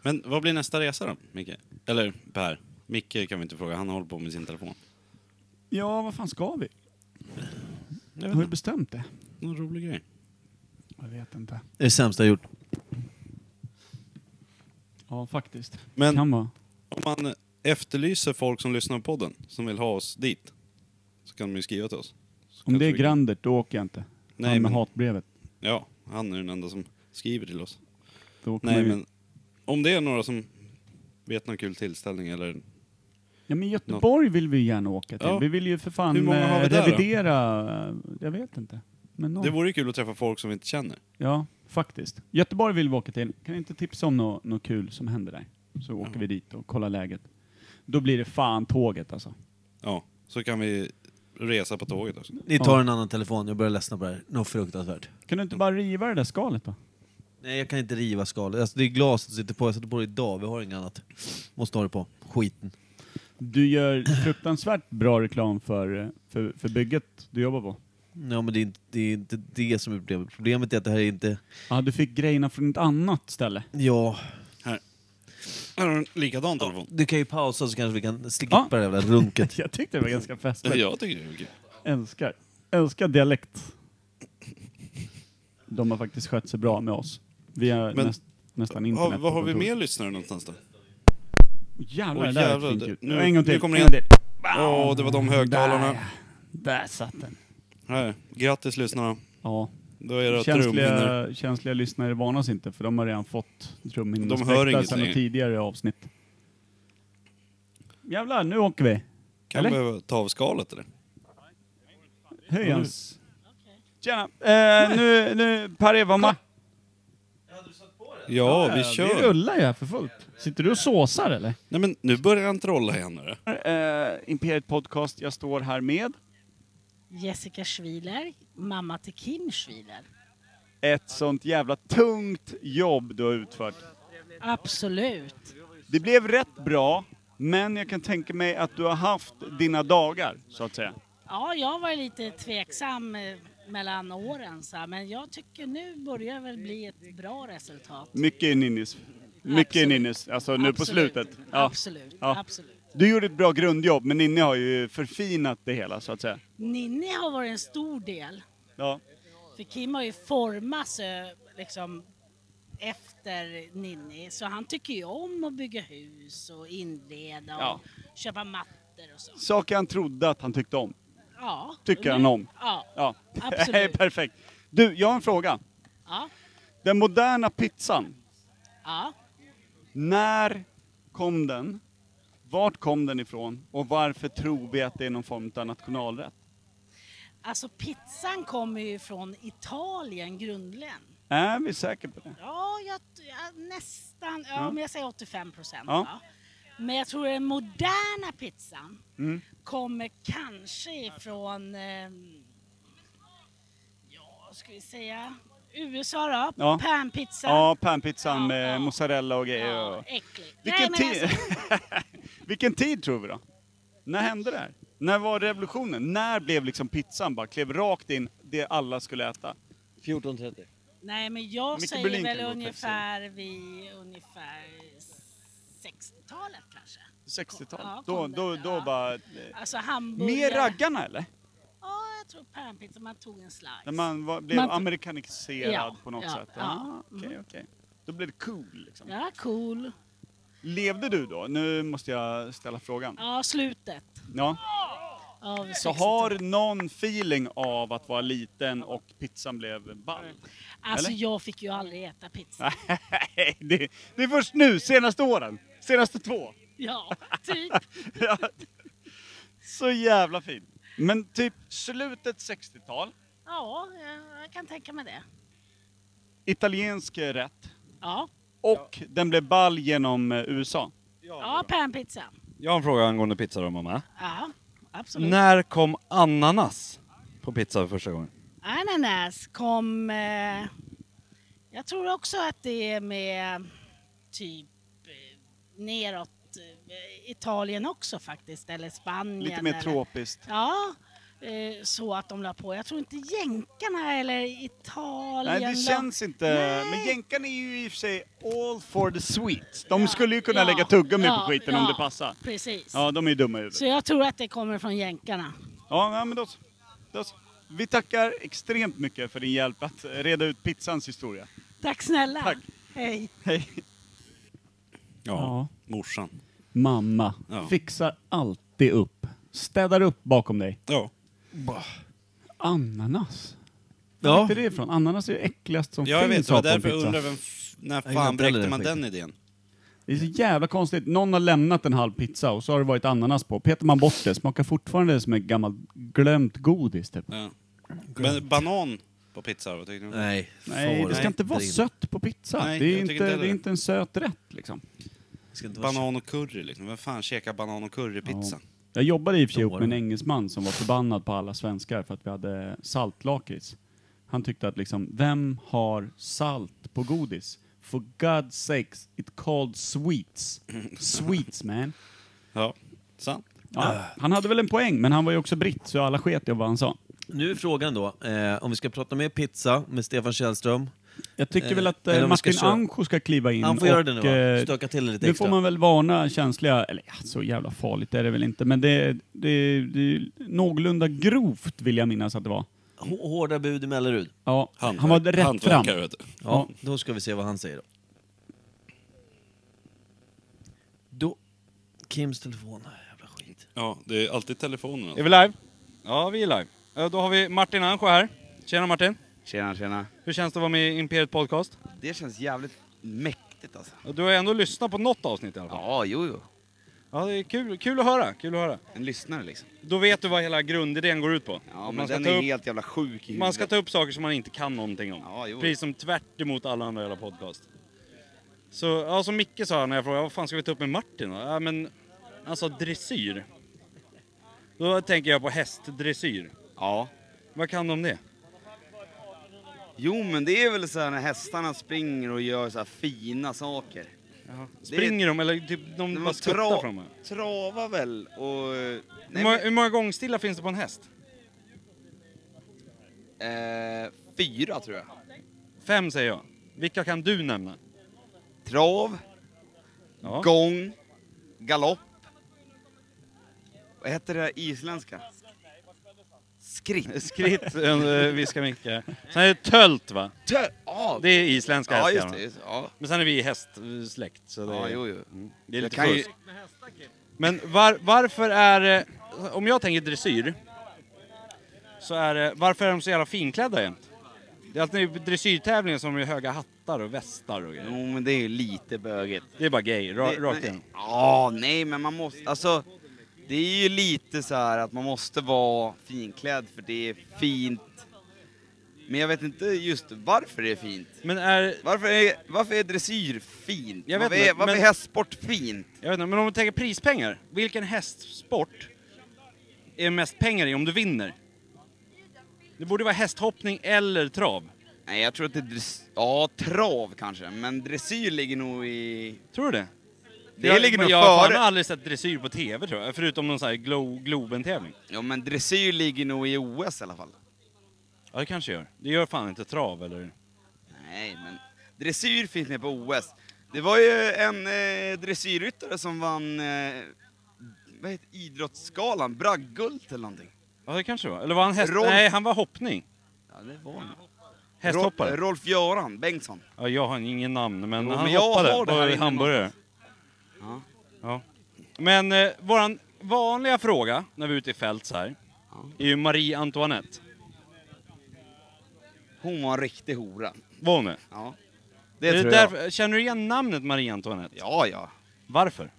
Men vad blir nästa resa då, Micke? Eller Per? Micke kan vi inte fråga, han håller på med sin telefon.
Ja, vad fan ska vi?
Jag
Har vi bestämt det?
Någon rolig grej.
Jag vet inte.
Det är det sämsta jag gjort.
Ja, faktiskt.
Men
Kan vara.
om man efterlyser folk som lyssnar på podden, som vill ha oss dit, så kan de ju skriva till oss. Så
Om det
kanske
är
vi kan-
Grandert, då åker jag inte.
Nej,
Han med
men-
hatbrevet.
Ja, han är den enda som skriver till oss.
Då åker
Nej,
man ju-
men om det är några som vet någon kul tillställning eller...
Ja, men Göteborg vill vi ju gärna åka till.
Ja.
Vi vill ju för fan
Hur många har vi
eh,
där då?
revidera... eh, Jag vet inte. Men någon.
Det vore ju kul att träffa folk som vi inte känner.
Ja, faktiskt. Göteborg vill vi åka till. Kan jag inte tipsa om något nå kul som händer där? Så åker vi dit och kollar läget. Då blir det fan tåget alltså.
Ja, så kan vi resa på tåget också.
Ni tar en annan telefon, jag börjar ledsna på det här. Något fruktansvärt.
Kan du inte bara riva det där skalet då?
Nej, jag kan inte riva skalet. Alltså, det är glaset som sitter på. Jag sätter på det idag, vi har inget annat. Måste ha det på. Skiten.
Du gör fruktansvärt bra reklam för, eh, för, för bygget du jobbar på.
Ja, men det är, inte, det är inte det som är problemet. Problemet är att det här är inte...
Ja, du fick grejerna från ett annat ställe.
Ja.
Här. Här har du en likadan telefon.
Du kan ju pausa så kanske vi kan slippa det där
<laughs>
runket.
jag tyckte det var ganska festligt.
Jag tycker det är kul.
Älskar. Älskar dialekt. De har faktiskt skött sig bra med oss. Vi är
Men-
näst, nästan internet.
Har, vad
på
har vi
kontoret.
mer lyssnare någonstans då?
Jävlar,
Åh,
det där är
jävlar,
ett fint
det-
ljud.
nu-
en gång till.
nu kommer det
en gång
igen.
till.
Åh, det var de högtalarna.
Där, där satt den.
Här. Grattis lyssnarna.
Ja.
Då är det att trumhinnor...
Känsliga, känsliga lyssnare varnas inte för de har redan fått trumhinnorna
De hör
släckta
inget
sedan
längre.
tidigare avsnitt. Jävlar, nu åker vi.
Kan
Eller?
behöva ta av skalet eller?
Höj hans. Tjena! Eh, nu, nu, Per Evhammar.
Ja, vi
Vi
kör.
rullar ju här för fullt. Sitter du och såsar eller?
Nej men nu börjar han trolla igen. hörru.
Eh, Imperiet Podcast, jag står här med
Jessica Schwiler, mamma till Kim Schwiler.
ett sånt jävla tungt jobb du har utfört.
Absolut.
Det blev rätt bra, men jag kan tänka mig att du har haft dina dagar, så att säga.
Ja, jag var lite tveksam eh, mellan åren så här, men jag tycker nu börjar väl bli ett bra resultat.
Mycket är Ninnis. Mycket är Ninnis, alltså nu på
Absolut.
slutet.
Absolut, absolut.
Du gjorde ett bra grundjobb, men Ninni har ju förfinat det hela, så att säga.
Ninni har varit en stor del,
Ja.
för Kim har ju formats eh, liksom efter Ninni, så han tycker ju om att bygga hus och inreda och
Ja.
köpa mattor och så.
Saker han trodde att han tyckte om.
Ja. Mm.
Tycker han om.
Ja,
Ja. <laughs>
Absolut.
Perfekt. Du, jag har en fråga.
ja,
Den moderna pizzan,
ja.
när kom den? Vart kom den ifrån? Och varför tror vi att det är någon form av nationalrätt?
Alltså pizzan kommer ju från Italien grundligen.
Är vi säkra på det?
Ja, jag, jag, nästan. Ja,
Ja.
Men jag säger 85 procent.
Ja.
Ja. Men jag tror den moderna pizzan
Mm.
kommer kanske ifrån, ehm, ja, ska vi säga, USA då?
Ja.
Panpizza.
Ja, panpizzan med mozzarella och grejer.
Ja,
och-
äcklig.
Vilken,
Nej, men
ti-
alltså,
<laughs> Vilken tid tror vi då? När hände det här? När var revolutionen? När blev liksom pizzan bara klev rakt in det alla skulle äta? 14.30.
nej, men jag
Micke
säger
Berlin
väl
kan gå och pizza.
ungefär vid ungefär 60-talet kanske.
60-tal.
Ja,
då
kom det,
då, då bara... eh,
Alltså hamburgare.
Mer raggarna eller?
Ja, jag tror panpizza. Man tog en slice.
När man var, blev
Man-
amerikaniserad
Ja,
på något
ja,
sätt?
ja.
Ah, Okej,
Mm.
okej. Då blev det cool liksom.
Ja, cool.
Levde du då? Nu måste jag ställa frågan.
Ja, slutet.
Ja.
Av
Så
60-talet.
har du någon feeling av att vara liten och pizzan blev ball?
Alltså
Eller?
jag fick ju aldrig äta pizza.
Nej, det, det är först nu, senaste åren. Senaste två.
Ja, typ.
<laughs> Ja. Så jävla fint. Men typ slutet 60-tal,
Ja, jag- jag kan tänka mig det.
italiensk rätt.
Ja.
Och den blev ball genom eh, USA.
Ja, panpizza.
Jag har en fråga angående pizza då mamma.
Ja, absolut.
När kom ananas på pizza för första gången?
Ananas kom... Eh, jag tror också att det är med typ eh, neråt eh, Italien också faktiskt, eller Spanien.
Lite mer
eller,
tropiskt.
Ja, eh, så att de la på. Jag tror inte jänkarna eller Italien...
Nej, det
la-
känns inte. Men jänkarna är ju i och för sig all for the sweets. De skulle ju kunna
Ja,
lägga tuggummi
ja,
på skiten om
ja,
det passar.
Precis.
Ja, de är ju dumma i huvudet.
Så jag tror att det kommer från jänkarna.
Ja, nej, men då, så. då så. Vi tackar extremt mycket för din hjälp att reda ut pizzans historia.
Tack snälla. Hej.
Hej.
Ja, morsan.
Mamma
Ja.
fixar alltid upp. Städar upp bakom dig.
Ja.
Ananas.
Ja.
Var är det ifrån? Ananas är ju äckligast som
Jag
finns
vet, det var
sa på en
därför jag
pizza.
undrar vem f- när
Jag gillar
fan
inte
bräckte
heller
man
den
den idén?
Det är så jävla konstigt. Någon har lämnat en halv pizza och så har det varit ananas på. Petar man bort det smakar fortfarande som ett gammalt glömt godis typ.
Ja. Men banan på pizza, vad tyckte du?
Nej.
Nej, det ska inte vara sött på pizza.
Nej,
det,
jag
är
tycker
inte,
inte heller
det är
det.
inte en söt rätt liksom.
ska inte vara
Banan och curry liksom. Vem fan käkar banan och currypizza?
Jag jobbade i och för sig ihop
var
med en engelsman som var förbannad på alla svenskar för att vi hade saltlakrits. Han tyckte att liksom, vem har salt på godis? For God's sakes, it called sweets. Sweets man.
Ja, sant.
Ja, han hade väl en poäng, men han var ju också britt så alla sket i vad han sa.
Nu är frågan då, eh, om vi ska prata mer pizza med Stefan Källström.
Jag tycker
Eh,
väl att
eller
eh,
om vi ska
Martin
köra-
Ancho ska kliva in
Han får göra
och,
det nu
eh,
va? Stöka till det lite
Nu
extra.
får man väl varna känsliga, eller ja, så jävla farligt är det väl inte, men det, det, det är någorlunda grovt vill jag minnas att det var.
H- Hårda bud i Mellerud.
Ja, han var rätt fram.
Hantverkare, vet du. Ja,
Ja.
då ska vi se vad han säger då. Då... Kims telefon. Jävla skit.
Ja, det är alltid telefonen.
Är vi live? Ja, vi är live. Eh, Då har vi Martin Ancho här. Tjena Martin!
Tjena, tjena.
Hur känns det att vara med i Imperiet Podcast?
Det känns jävligt mäktigt alltså.
Du har ändå lyssnat på något avsnitt i alla fall?
Ja, jo, jo.
Ja, det är kul, kul att höra. Kul att höra.
En lyssnare liksom.
Då vet du vad hela grundidén går ut på.
Ja,
Att
men den
ta
är
upp-
helt jävla sjuk i
Man ska
huvudet.
ta upp saker som man inte kan någonting om.
jo.
Precis som tvärt emot alla andra jävla podcast. Så, ja, som Micke sa när jag frågade, vad fan ska vi ta upp med Martin då? Ja, men, han sa dressyr. Då tänker jag på hästdressyr.
Ja.
Vad kan du om det?
Jo, men det är väl så här när hästarna springer och gör så här fina saker.
Springer de eller typ de bara tuttar fram?
Travar väl och... eh,
Hur
Nej,
många, hur många gångstillar finns det på en häst?
men, eh, fyra tror jag.
Fem säger jag. Vilka kan du nämna?
Trav, gång, galopp. Vad heter det där isländska? Skritt.
<laughs> Skritt eh, viskar Micke. Sen är det tölt va?
Tölt! Ja.
Det är isländska
Ja,
hästar,
just
va?
det, just det, ja.
Men sen är vi hästsläkt. Så det
Ja,
är,
jo, jo.
Mm, Det är
Jag
lite
kan ju-
fusk. Men var, varför är det- Om jag tänker dressyr. Så är det, varför är de så jävla finklädda jämt? Det är alltid dressyrtävlingen som är höga hattar och västar och grejer.
Jo, men det är ju lite bögigt.
Det är bara gay, ra,
Nej,
rakt
nej.
igenom.
Ja, nej, men man måste... Alltså, det är ju lite så här att man måste vara finklädd för det är fint. Men jag vet inte just varför det är fint.
Men är...
Varför är, varför är dressyr fint?
Jag vet
varför
inte,
är, varför
men-
är hästsport fint?
Jag vet inte, men om vi tänker prispengar. Vilken hästsport är mest pengar i om du vinner? Det borde vara hästhoppning eller trav.
Nej, jag tror att det är dress... Ja, trav kanske, men dressyr ligger nog i...
Tror du det?
Det
jag,
ligger nog
jag har
före.
fan aldrig sett dressyr på TV tror jag, förutom någon sån här glo, Globen-tävling.
Ja, men dressyr ligger nog i OS i alla fall.
Ja, det kanske gör. Det gör fan inte trav, eller?
Nej, men dressyr finns med på OS. Det var ju en eh, dressyrryttare som vann eh, vad heter, idrottsskalan, Bragguld eller någonting.
Ja, det kanske var. Eller var han häst...
Rolf-
Nej, han var hoppning.
Ja, det var han.
Hästhoppare.
Rol- Rolf-Göran Bengtsson.
Ja, jag har ingen namn, men
Jo,
han
men jag
hoppade.
har det här
Var
inne
hamburgare.
Ja.
Ja. Men eh, våran vanliga fråga när vi är ute i fält så här, är ju Marie Antoinette.
Hon var en riktig hora.
Var hon det?
Ja.
Det
Det tror
därför, Känner du igen namnet Marie Antoinette?
Ja, ja.
Varför?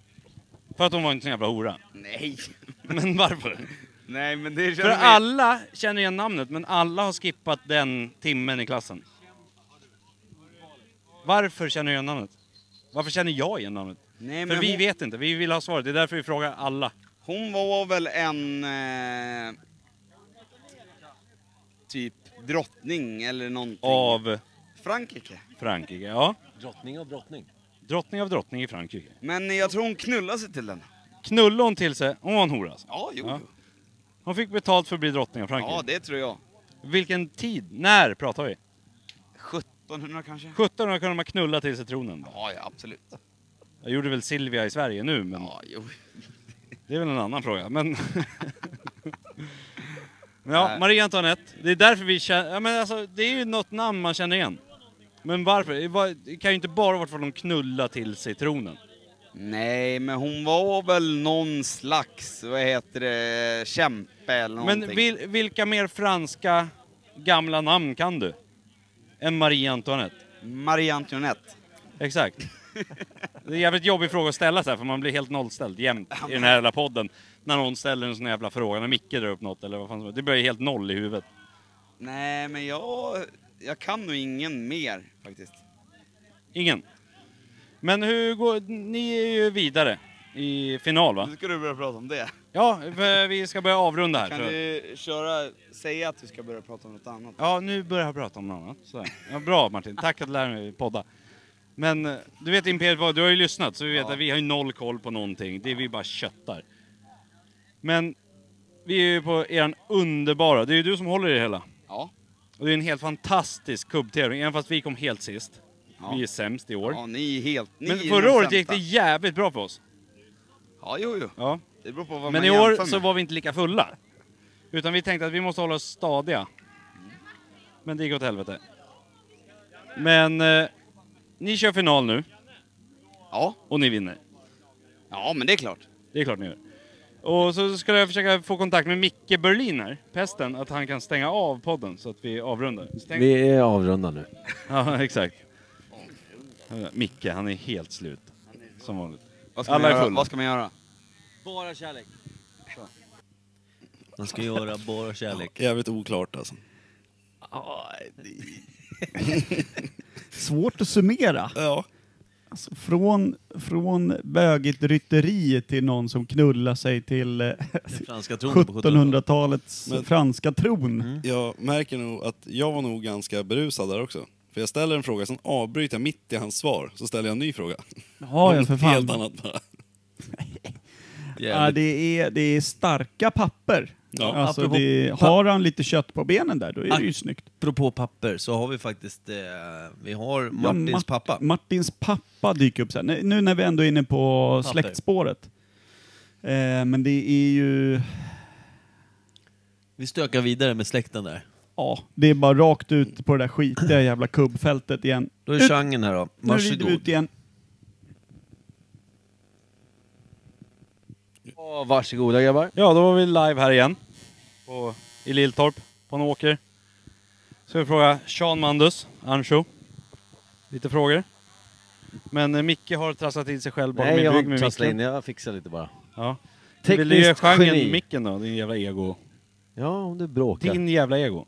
För att hon var en sån jävla hora?
Nej. <laughs>
Men varför?
Nej, men det
För alla känner igen namnet, men alla har skippat den timmen i klassen. Varför känner du igen namnet? Varför känner jag igen namnet?
Nej,
För
men
vi
hon-
vet inte, vi vill ha svaret. Det är därför vi frågar alla.
Hon var väl en... Eh, typ drottning eller någonting.
Av?
Frankrike.
Frankrike, ja.
Drottning av drottning.
Drottning av drottning i Frankrike.
Men jag tror hon knullade sig till den.
Knullade hon till sig? Hon var en hora alltså.
Ja, jo. jo.
Hon fick betalt för att bli drottning av Frankrike.
Ja, det tror jag.
Vilken tid? När pratar vi?
1700 kanske?
1700 kunde man knulla till sig tronen.
Ja, ja absolut.
Jag gjorde väl Silvia i Sverige nu, men... Ja,
jo.
Det är väl en annan fråga, men... <laughs> ja, Marie Antoinette. Det är därför vi känner... Ja, men alltså, det är ju något namn man känner igen. Men varför? Det var- Det kan ju inte bara vara för att de knulla till sig tronen.
Nej, men hon var väl någon slags, vad heter det, kämpe eller någonting.
Men vil, vilka mer franska gamla namn kan du? Än Marie Antoinette?
Marie Antoinette.
Exakt. Det är en jävligt jobbig fråga att ställa så här, för man blir helt nollställd jämt i den här jävla podden. När någon ställer en sån jävla fråga, när Micke drar upp något eller vad fan som helst. Det blir helt noll i huvudet.
Nej, men jag, jag kan nog ingen mer faktiskt.
Ingen. Men hur går... Ni är ju vidare i final va?
Nu ska du börja prata om det.
Ja, för vi ska börja avrunda här.
Kan
tror jag.
du köra, säga att vi ska börja prata om något annat?
Ja, nu börjar jag prata om något annat. Så. här. Ja, bra Martin, tack att du lär mig podda. Men eh, du vet Imperiet Vad, du har ju lyssnat så vi vet att vi har ju noll koll på någonting. Det är vi bara köttar. Men vi är ju på eran underbara, det är ju du som håller i det hela.
Ja.
Och det är en helt fantastisk kubbtävling, även fast vi kom helt sist. Vi är sämst i år.
Ja, ni är helt... Ni
Men
är
förra
de
året gick
sämsta.
det jävligt bra för oss.
Ja, jo, jo.
Ja.
Det beror på vad
Men
man
i år
jämför
så
med.
var vi inte lika fulla. Utan vi tänkte att vi måste hålla oss stadiga. Men det gick åt helvete. Men eh, ni kör final nu.
Ja.
Och ni vinner.
Ja, men det är klart.
Det är klart ni gör. Och så skulle jag försöka få kontakt med Micke Berlin här, pesten, att han kan stänga av podden så att vi avrundar. Stäng-
Vi är avrunda nu.
Ja, exakt. Micke, han är helt slut. Som vanligt.
Vad ska man göra? Vad ska man göra?
Bara kärlek.
Man ska göra bara kärlek.
Jävligt oklart alltså.
<laughs> Svårt att summera.
Ja.
Alltså, från, från bögigt rytteri till någon som knullar sig till eh, <laughs>
franska tronen på
1700-talets
Men- Mm.
franska tron.
Jag märker nog att jag var nog ganska berusad där också. För jag ställer en fråga, sen avbryter jag mitt i hans svar, så ställer jag en ny fråga.
Jaha, ja,
Om
för fan.
Helt annat bara.
Ja, det, är, det är starka papper.
Ja.
Alltså,
Apropå Ah,
det,
pa-
har han lite kött på benen där, då är det ju snyggt.
Apropå papper så har vi faktiskt, eh, vi har
Ja,
Martins
Mart-
pappa.
Martins pappa dyker upp sen. Nu när vi ändå är inne på
Papper.
släktspåret. Eh, men det är ju...
Vi stökar vidare med släkten där.
Ja, det är bara rakt ut på det där skitiga jävla kubbfältet igen.
Då är
Ut-
genren här då.
Nu rider vi
Varsågod.
ut igen.
Ja, varsågoda grabbar. Ja, då var vi live här igen. På, I Lilltorp, på en åker. Så vi fråga Sean Mandus, Ancho. Lite frågor. Men eh, Micke har trasslat in sig själv bakom
Nej,
min
jag har
rygg
inte
med
trasslat in.
micken.
Jag fixar lite bara.
Ja.
Tekniskt
Vill du ge genren
geni.
micken då, din jävla ego?
Ja, om du bråkar.
Din jävla ego,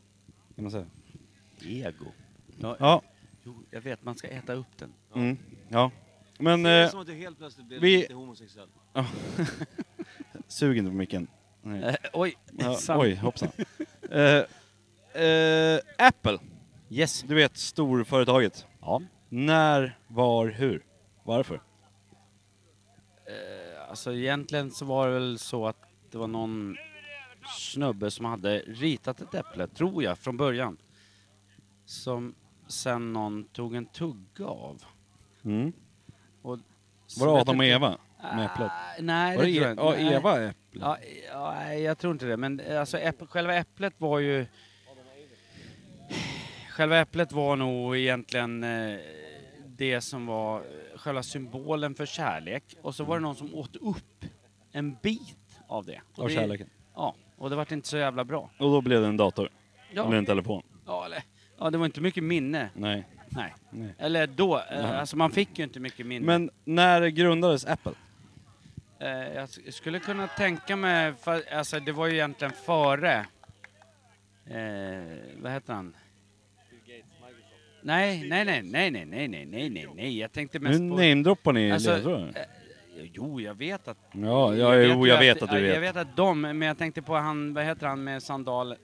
kan man säga.
Ego.
Ja.
Jo, jag vet, man ska äta upp den.
Mm. ja. Men...
Ser det
eh,
som att du helt plötsligt blev lite homosexuell?
Ja. <laughs> Sug inte på micken. Nej.
Eh, oj, <laughs>
ja,
sant.
Oj, hoppsan. Eh, eh, Apple.
Yes.
Du vet, storföretaget.
Ja.
När, var, hur? Varför?
Alltså egentligen så var det väl så att det var någon snubbe som hade ritat ett äpple, tror jag, från början. Som sen någon tog en tugga av.
Mm.
Och så
Var det
vet
Adam och
inte-
Eva med äpplet?
Nej,
Var
det
det
tror jag inte.
E- ja,
Nej.
Eva är äpple.
Ja, e- ja, nej, jag tror inte det. Men eh, alltså, äpp- själva äpplet var ju... Själva äpplet var nog egentligen eh, det som var eh, själva symbolen för kärlek. Och så var
Mm.
det någon som åt upp en bit av det. Och
Av
det,
kärleken.
Ja, och det vart inte så jävla bra.
Och då blev det en dator.
Ja.
Eller en telefon.
Ja, eller, ja, det var inte mycket minne.
Nej.
Nej.
Nej.
Eller då,
Nej.
eh, alltså man fick ju inte mycket minne.
Men när grundades Apple?
Eh, jag s- skulle kunna tänka mig, för, alltså det var ju egentligen före, eh, vad heter han? Nej, nej, nej, nej, nej, nej, nej, nej, nej, nej, jag tänkte
Nu
mest på...
namedroppar ni
alltså,
ledtrådar.
eh, Jo, jag vet att...
Ja, ja, jo,
ju
jag vet att du
eh,
vet.
Jag vet att de, men jag tänkte på han, vad heter han med sandal...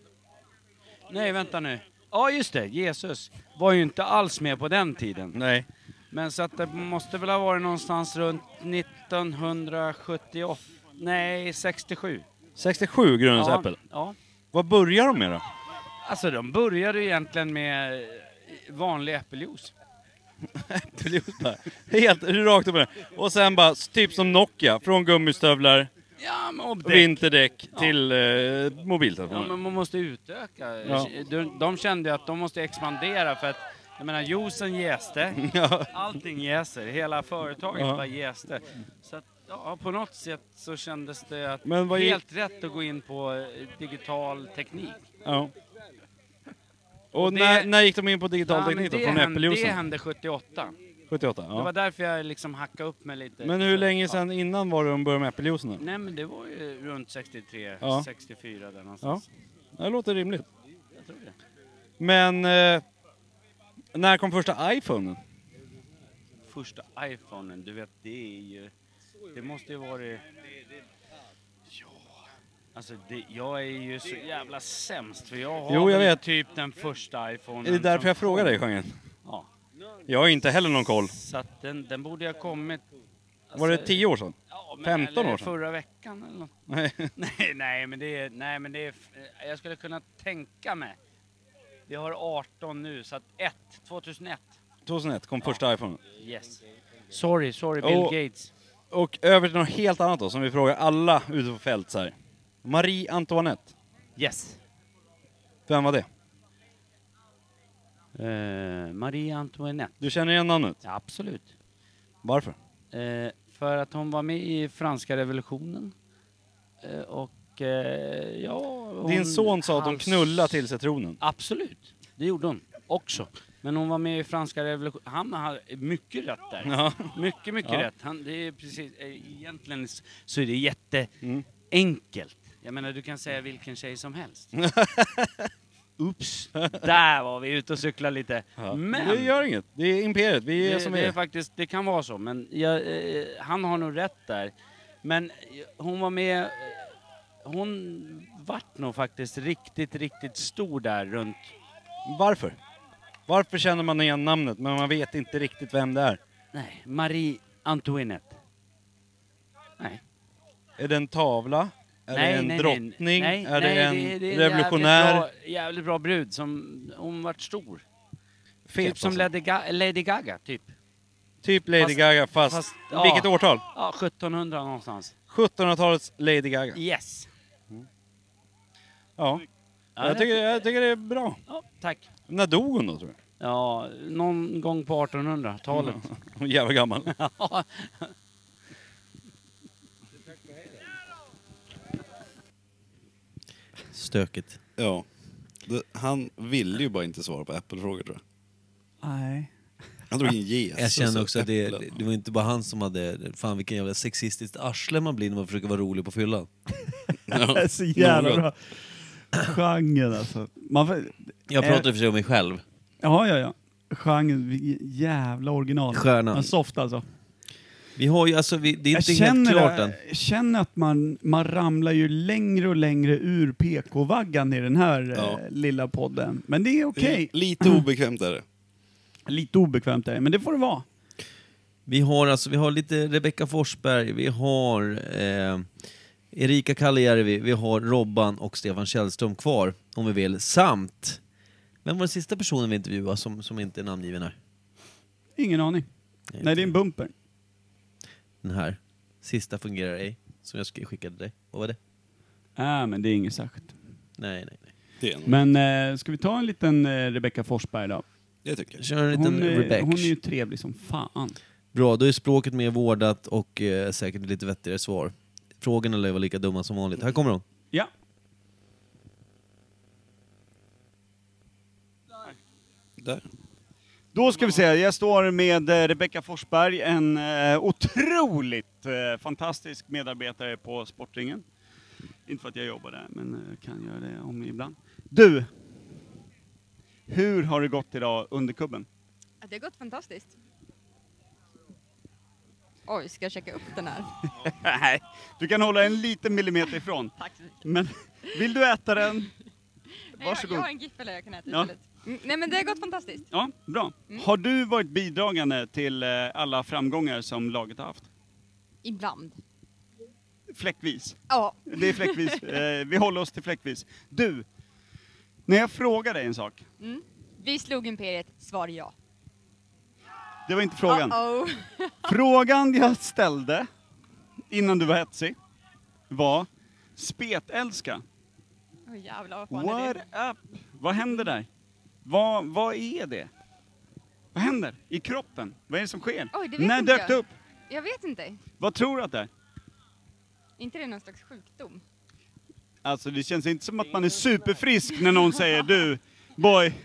Nej, vänta nu. Ja, just det, Jesus var ju inte alls med på den tiden.
Nej.
Men så att det måste väl ha varit någonstans runt 1978, nej 67.
67 grundades
Ja,
Apple.
ja.
Vad börjar de med då?
Alltså de började ju egentligen med eh, vanlig äppeljuice.
Äppeljuice bara. Helt rakt upp och ner. Och sen bara, typ som Nokia, från gummistövlar,
Ja, men och däck.
vinterdäck till eh,
Ja,
mobiltelefoner.
men man måste utöka.
Ja.
De, de kände ju att de måste expandera för att jag menar juicen jäste,
<laughs> Ja.
allting jäser, hela företaget
Ja.
bara jäste. Så att, ja, på något sätt så kändes det att
Men vad gick-
helt rätt att gå in på eh, digital teknik.
Ja. Och, när, när gick de in på digital
Ja, men
teknik då?
det
Från
hände- Det
äppeljuicen?
hände 78.
78,
Det var
ja.
därför jag liksom hackade upp mig lite.
Men hur länge sedan innan var det de började med äppeljuicen då?
Nej men det var ju runt 63,
Ja.
64 där
Ja,
någonstans.
det låter rimligt.
Jag tror det.
Men eh, när kom första iPhonen?
första iPhonen, du vet det är ju... Det måste ju varit... Alltså det, jag är ju så jävla sämst för jag har
Jo, jag
väl
vet.
typ den första iPhonen.
Är det därför
som
jag frågar
kom.
dig, Sjögren?
Ja.
Jag har inte heller någon koll.
Så att den, den borde ha kommit... alltså,
Var det 10 år sedan?
Ja, men-
15
eller
år sedan?
Förra veckan eller något.
Nej.
nej, nej, men det är... Nej, men det är eh, jag skulle kunna tänka mig. Vi har 18 nu, så att 1, 2001.
2001 kom första iPhonen.
Yes. Sorry, sorry Bill
Och-
Gates.
Och över till något helt annat då, som vi frågar alla ute på fält så här. Marie Antoinette,
Yes.
vem var det?
Eh, Marie Antoinette.
Du känner igen namnet?
Ja, absolut.
Varför?
Eh, för att hon var med i franska revolutionen. Eh, och eh, ja... hon-
Din son sa att hon
hans-
knullade till sig tronen.
Absolut, det gjorde hon också. Men hon var med i franska revolutionen. Han har mycket rätt där.
Ja.
Mycket, mycket
Ja.
rätt. Han, det är precis, eh, egentligen s- så är det
Mm.
jätteenkelt. Jag menar, du kan säga vilken tjej som helst. Oops, där var vi ute och cyklade lite.
Ja.
Men...
Det gör inget, det är imperiet, vi är
det,
som
det
vi
är.
är.
faktiskt, det kan vara så, men jag, eh, han har nog rätt där. Men eh, hon var med, eh, hon vart nog faktiskt riktigt, riktigt stor där runt...
Varför? Varför känner man igen namnet men man vet inte riktigt vem det är?
Nej, Marie Antoinette. Nej.
Är det en tavla? Är
nej,
det en
nej,
drottning?
Nej,
är
nej,
det en
är- är
revolutionär?
Jävligt bra, jävligt bra brud som, hon vart stor.
Fet
typ som
alltså.
Lady, Ga- Lady Gaga, typ.
Typ Lady Gaga fast, vilket
ja.
årtal?
Ja, 1700 någonstans.
1700-talets Lady Gaga.
Yes.
Ja.
Ja,
jag,
det-
tycker, jag tycker det är bra.
Ja, tack.
När dog hon då tror
jag? Ja, någon gång på
Mm,
1800-talet.
<laughs> Hon är jävla gammal.
<laughs> Ja.
Stökigt.
Ja. Det, han ville ju bara inte svara på Apple-frågor tror jag.
Nej.
Han drog in Jesus
<laughs> Jag känner också att det,
och äpplen.
det var inte bara han som hade... Fan vilken jävla sexistiskt arsle man blir när man försöker vara rolig på fyllan.
Det är så jävla bra. Genren alltså. Man, får- Eh.
Jag pratar i och för sig om mig själv.
Ja, ja, ja. Genren, vi- jävla original.
Stjärnan.
Men soft alltså.
Vi har ju, alltså, vi, det är
Jag
inte helt
känner,
klart än.
det- jag känner att man, man ramlar ju längre och längre ur PK-vaggan i den här
Ja.
eh, lilla podden. Men det är okej.
Lite obekvämt är det.
<clears throat> Lite obekvämt är det, men det får det vara.
Vi har alltså, vi har lite Rebecka Forsberg, vi har eh, Erika Kallijärvi, vi har Robban och Stefan Källström kvar om vi vill. Samt, vem var den sista personen vi intervjuade som, som inte är namngiven här?
Ingen aning. Nej, det är en bumper.
Den här. Sista fungerar ej, som jag sk- skickade dig. Vad var det?
Nej, Äh, men det är inget särskilt.
Nej, nej, nej.
Men eh, ska vi ta en liten eh, Rebecca Forsberg då?
Det tycker jag.
Kör en liten
hon, är,
Rebecca.
hon är ju trevlig som fan.
Bra, då är språket mer vårdat och eh, säkert lite vettigare svar. Frågorna lär vara lika dumma som vanligt. Här kommer de.
Ja. Då ska vi se, jag står med eh, Rebecca Forsberg, en eh, otroligt eh, fantastisk medarbetare på Sportringen. Inte för att jag jobbar där, men eh, kan göra det om ibland. Du! Hur har det gått idag under kubben?
Ja, Det har gått fantastiskt. Oj, ska jag checka upp den här?
<laughs> Nej, du kan hålla en liten millimeter ifrån.
Tack så mycket.
Men vill du äta den?
Nej, jag,
Varsågod.
jag har en giffel jag kan äta
Ja.
istället. Mm, Nej men det har gått fantastiskt.
Ja, bra.
Mm.
Har du varit bidragande till eh, alla framgångar som laget har haft?
Ibland.
Fläckvis.
Ja.
Det
<laughs>
är fläckvis. Eh, vi håller oss till fläckvis. Du, när jag frågar dig en sak.
Mm. Vi slog Imperiet, svar ja.
Det var inte frågan.
Uh-oh. <laughs>
Frågan jag ställde innan du var hetsig var spetälska.
Åh jävlar vad fan är
What
det?
up? Vad händer där? Vad, vad är det? Vad händer i kroppen? Vad är det som sker?
Oj, det vet
när
inte
dök
jag.
det upp?
Jag vet inte.
Vad tror du att det är?
inte det någon slags sjukdom?
Alltså det känns inte som att man är superfrisk när någon säger du, boy,
Nej,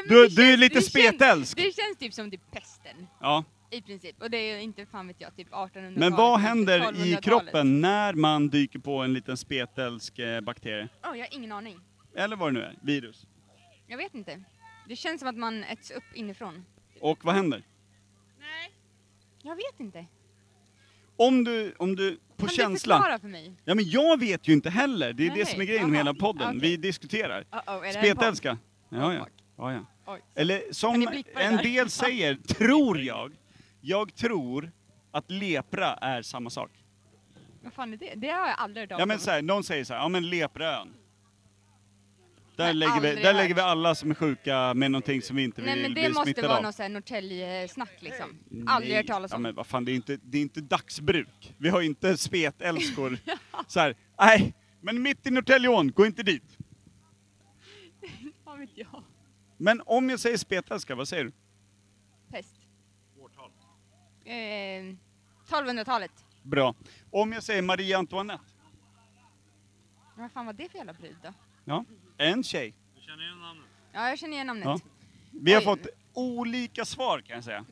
men det
du, du är
känns-
lite
det känns-
spetälsk.
Det känns typ som typ pesten.
Ja.
I princip. Och det är ju inte fan vet jag, typ 1800-talet.
Men vad
kanske
händer i
1200-talet.
kroppen när man dyker på en liten spetälsk eh, bakterie?
Åh, jag har ingen aning.
Eller vad det nu är, virus.
Jag vet inte. Det känns som att man äts upp inifrån.
Och vad händer?
Jag vet inte.
Om du, om du, på
Kan du
känslan.
förklara för mig?
Ja men jag vet ju inte heller. Det är
Nej,
det som är grejen med hela podden.
okej.
Vi diskuterar.
Uh-oh, är det en
Spetälska. Ja, ja. ja, ja.
Oj.
Eller
Men ni
som
blippar det
en
där. <laughs>
del säger, tror jag. Jag tror att lepra är samma sak.
Vad fan är det? Det har jag aldrig hört talas
Ja men
om.
så här, någon säger så här, ja men leprön. Där, lägger vi,
aldrig
där
hört.
lägger vi alla som är sjuka med någonting som vi inte
Nej
vill
men
bli
det måste
smittade
vara
av.
något sån här Norrtälje-snack liksom. Aldrig hört talas
Ja,
om.
men vad fan, det är inte, det är inte dagsbruk. Vi har
<laughs>
inte spetälskor. så här, nej, men mitt i Norrtälje ån, gå inte dit.
<laughs> Vad vet jag?
Men om jag säger spetälska, vad säger du?
Pest. Eh, 1200-talet.
Bra. Om jag säger Marie Antoinette,
Vad fan var det för jävla brud då?
ja, en tjej.
Ja, jag känner igen namnet.
Ja. Vi har
Oj.
fått olika svar kan jag säga.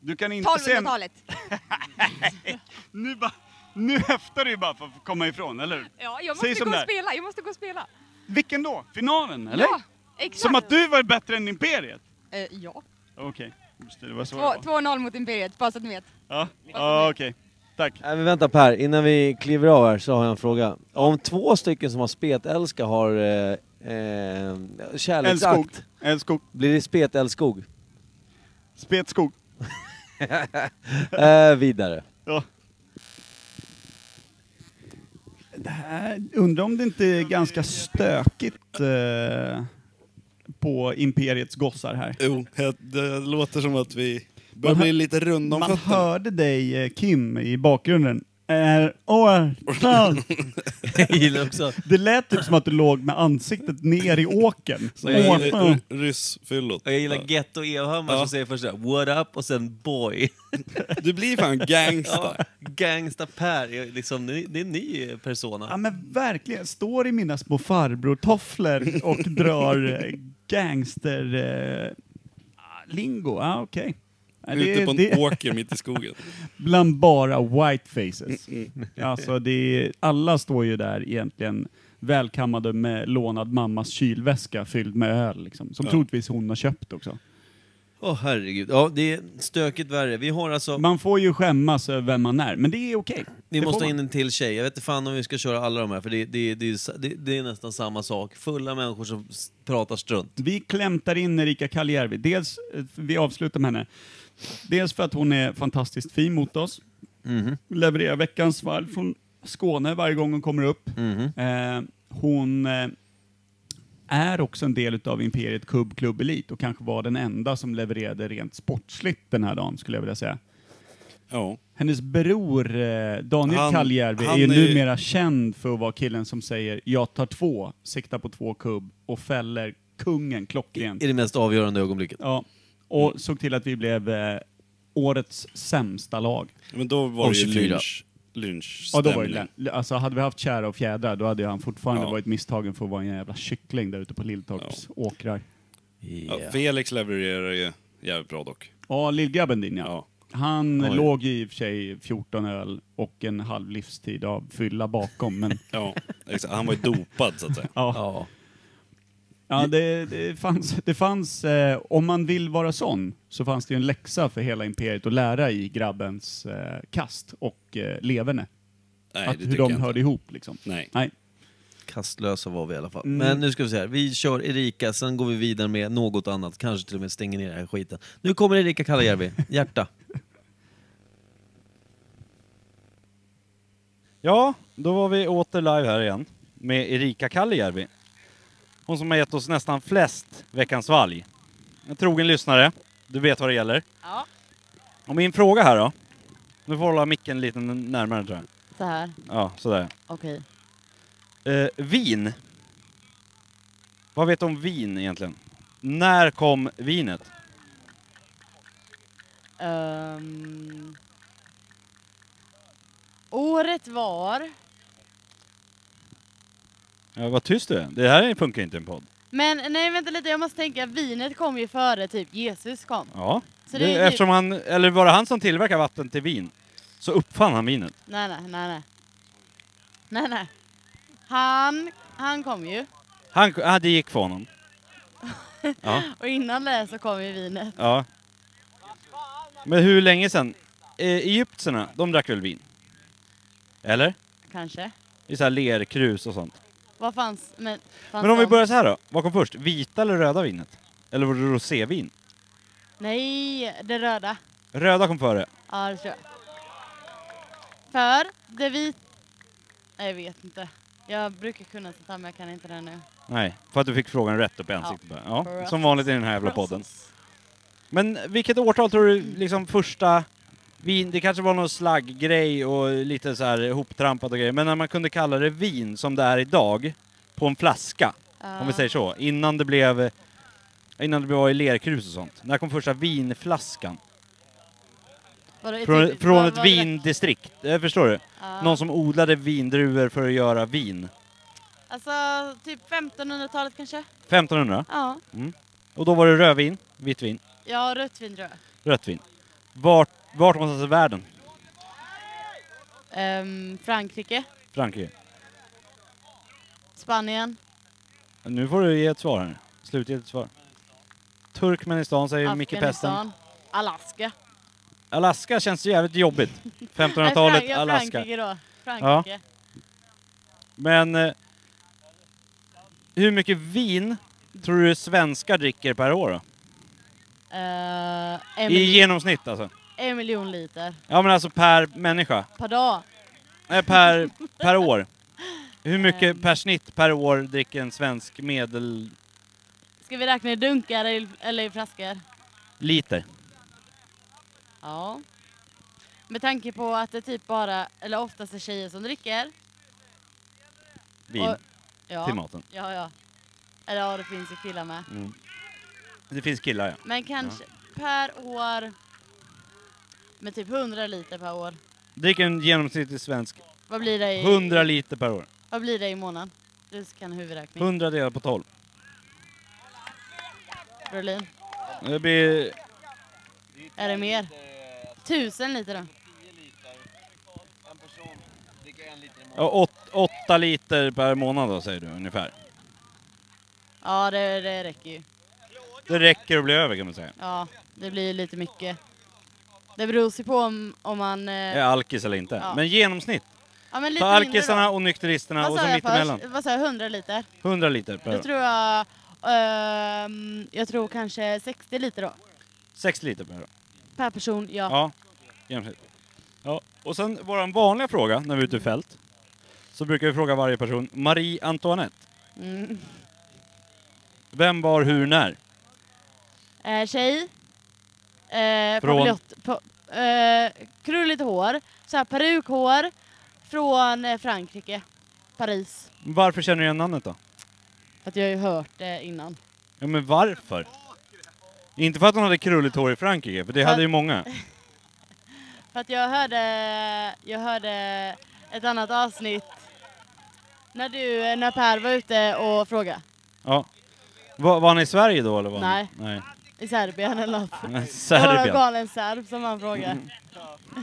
Du kan inte säga...
1200-talet.
Nu, bara, nu höftar du ju bara för att komma ifrån, eller hur?
Ja, jag
Säg
måste
som
gå
det
och
är.
spela. Jag måste gå och spela.
Vilken då? Finalen, eller?
Ja, exakt.
Som att du var bättre än Imperiet?
Eh, ja.
Okej, just det, det var så det var.
2-0 mot Imperiet, bara så att ni vet.
Ja, ja okej. Tack.
Nej, men vänta Per, innan vi kliver av här så har jag en fråga. Om två stycken som har spetälska har eh, eh,
Älskog.
kärleksakt,
Älskog.
blir det
<laughs>
spetälskog?
Spetskog.
eh, vidare.
Ja. Det här, undrar om det inte är ganska stökigt eh, på Imperiets gossar här.
Jo, det, det låter som att vi börjar bli lite runda om
Man
fötterna.
hörde dig eh, Kim i bakgrunden. Är årsdag.
<laughs> Jag gillar också.
Det lät typ som att du låg med ansiktet ner i åkern.
Så jag
Årsdag.
Ryssfyllot.
Och jag gillar Ghetto Evhammar som säger först såhär, what up och sen boy.
<laughs> Du blir fan gangsta.
ja, gangsta Per, är liksom, det är det är en ny persona.
Ja men verkligen, står i mina små farbrortofflor och drar eh, gangster... Eh, ah, lingo, ah, okej. Nej, det-
Ute på en
det-
åker mitt i skogen.
<laughs> Bland bara whitefaces.
Mm.
Alltså det är, alla står ju där egentligen välkammade med lånad mammas kylväska fylld med öl liksom. Som
Ja.
troligtvis hon har köpt också.
Åh herregud, ja det är stökigt värre. Vi har alltså...
Man får ju skämmas över vem man är, men det är okej.
Vi
Det
måste
får
ha
man.
in en till tjej. Jag vet inte fan om vi ska köra alla de här för det, det, det, är ju- det, det är nästan samma sak. Fulla människor som s- pratar strunt.
Vi klämtar in Erika Kaljärvi. Dels, eh, vi avslutar med henne. Dels för att hon är fantastiskt fin mot oss.
Mhm.
Levererar veckans varv från Skåne varje gång hon kommer upp.
Mhm.
Eh, hon eh, är också en del utav Imperiet Cub Club Elite och kanske var den enda som levererade rent sportsligt den här dagen, skulle jag vilja säga. Hennes bror eh, Daniel
Han-
Kaljärvi är
han
ju
är ju-
numera känd för att vara killen som säger jag tar två, siktar på två kubb och fäller kungen klockrent.
I det mest avgörande ögonblicket.
Ja, och
Mm.
såg till att vi blev eh, årets sämsta lag.
Men då var
Och
det ju
24.
lynch, lynch
Ja, då var det, lä- alltså, hade vi haft kära och fjädrar då hade han fortfarande
Ja.
varit misstagen för att vara en jävla kyckling där ute på Lilltorps åkrar.
ja, Felix levererar ju jävligt bra dock.
Ja, lillgrabben din ja. Han
Oj.
låg i och för sig 14 öl och en halv livstid av fylla
<laughs>
bakom, men...
Ja, exakt. Han var ju dopad så att
<laughs>
säga.
Ja.
Ja,
det, det fanns... Det fanns eh, om man vill vara sån så fanns det ju en läxa för hela imperiet att lära i grabbens eh, kast och eh, leverne.
Nej,
att
det
hur
tycker jag
de
inte.
hörde ihop liksom.
Nej.
Nej.
Kastlösa var vi i alla fall.
Mm.
Men nu ska vi se här. Vi kör Erika, sen går vi vidare med något annat. Kanske till och med stänger ner den här skiten. Nu kommer Erika Kalajärvi. Hjärta.
Ja, då var vi åter live här igen med Erika Kallijärvi. Hon som har gett oss nästan flest Veckans valg. En trogen lyssnare. Du vet vad det gäller.
Ja,
Och min fråga här då. Nu får jag hålla micken lite närmare tror jag.
så här.
Ja, sådär.
Okej.
Eh, vin. Vad vet du om vin egentligen? När kom vinet?
Ehm, året var...
Ja, vad tyst du är. Det här funkar ju inte i en podd.
Men nej, vänta lite. Jag måste tänka. Vinet kom ju före typ Jesus kom.
Ja.
Så
det,
det är ju-
eftersom han, eller var det han som tillverkade vatten till vin? Så uppfann han vinet.
Nej, nej, nej, nej. Nej, nej. Han, han kom ju.
Han, ah, det gick för honom. Ja.
Och innan det så kom ju vinet.
ja. Men hur länge sedan? eh, egyptierna, de drack väl vin? Eller?
kanske.
I så här lerkrus och sånt.
Vad fanns? Men, fanns
Men om vi
de-
börjar så här då, vad kom först? Vita eller röda vinet? Eller var det rosévin?
Nej, det röda.
Röda kom före.
Ja, det tror jag. För det vita... Nej, jag vet inte. Jag brukar kunna sånt här, men jag kan inte det nu.
Nej, för att du fick frågan rätt upp i ansiktet.
Ja.
Ja. Ja,
Process.
som vanligt i den här jävla podden.
Process.
Men vilket årtal tror du liksom första vin, det kanske var någon slagggrej och lite så här hoptrampat och grejer, men när man kunde kalla det vin som det är idag på en flaska, om vi säger så, innan det blev innan det var i lerkrus och sånt. När kom första vinflaskan?
Vadå, ett
Från,
typ-
från
vad-
ett
vad drack-
vindistrikt, eh, förstår du?
Ja.
Någon som odlade vindruvor för att göra vin.
Alltså, typ 1500-talet kanske?
1500?
Ja.
Mm. Och då var det rödvin, vitt vin,
Ja, rött vin tror jag.
rött vin. Vart, vart någonstans i världen?
Ehm, Frankrike,
Frankrike?
Spanien,
Nu får du ge ett svar här. Slutgiltigt svar. Turkmenistan säger Micke Pesten.
Afghanistan, Alaska.
Alaska känns ju jävligt jobbigt.
<laughs> Nej,
1500-talet,
Frank-
Alaska.
Frankrike då. Frankrike.
Men eh, hur mycket vin tror du svenskar dricker per år då?
Eh, en,
I
miljon,
genomsnitt alltså?
en miljon liter
Ja men alltså per människa.
per dag.
Nej, Eh, per, per år. Hur
Eh.
mycket per snitt per år dricker en svensk medelliter?
Ska vi räkna i dunkar eller i- eller i flaskor? Ja. Med tanke på att det typ bara, eller oftast är tjejer som dricker.
Vin.
Och- ja.
Till maten.
Ja, ja. Eller ja, det finns ju killar med.
Mm. Det finns killar ja.
Men kanske per år med typ 100 liter per år.
Dricker en genomsnittlig svensk
Vad blir det i,
100 liter per år.
Vad blir det i månaden? Du kan huvudräkning.
100 delat på 12.
Berlin.
Det blir...
Är det mer? Tusen liter då?
Ja, åt, åtta liter per månad då, säger du ungefär.
Ja, det, det räcker ju.
Det räcker att bli över kan man säga.
Ja, det blir ju lite mycket. Det beror sig på om, om man... eh,
Är alkis eller inte.
Ja.
Men genomsnitt.
Ja, men lite
Ta
mindre
alkisarna
då.
och nykteristerna
Vad
och
sa
så
jag
mittemellan.
först? Vad sa jag? 100 liter?
100 liter per
Då
år.
tror jag... ehm, jag tror kanske 60 liter då.
6 liter per år.
Per person, ja.
Ja, genomsnitt. Ja. Och sen vår vanliga fråga när vi är ute i fält. Så brukar vi fråga varje person, Marie Antoinette.
Mm.
Vem var hur när?
Eh, tjej. Eh,
Från?
paviljott- pa- eh, krulligt hår. Så här perukhår. Från eh, Frankrike. Paris.
Varför känner du igen namnet då?
För att jag har ju hört det innan.
Ja men varför? Inte för att hon hade krulligt hår i Frankrike, för det hade ju många.
<laughs> För att jag hörde, jag hörde ett annat avsnitt när du, när Per var ute och frågade.
Ja. Var, var han i Sverige då eller? Var han-
Nej.
Nej.
I Serbien eller något.
Serbien.
Det var en galen serb som han frågade.
Mm.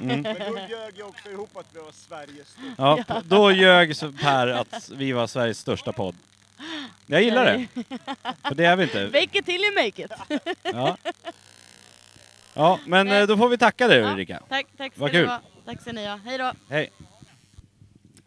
Men då ljög jag också ihop att vi var Sveriges största.
Ja, p- då ljög så- Per att vi var Sveriges största podd. Jag gillar det. För det är vi inte.
Make it till you make it.
Ja. Ja, men eh, då får vi tacka dig
Ja,
Ulrika.
Tack, tack ska
Vad
ni
kul.
ha. Tack ska ni ha. Hej då.
Hej.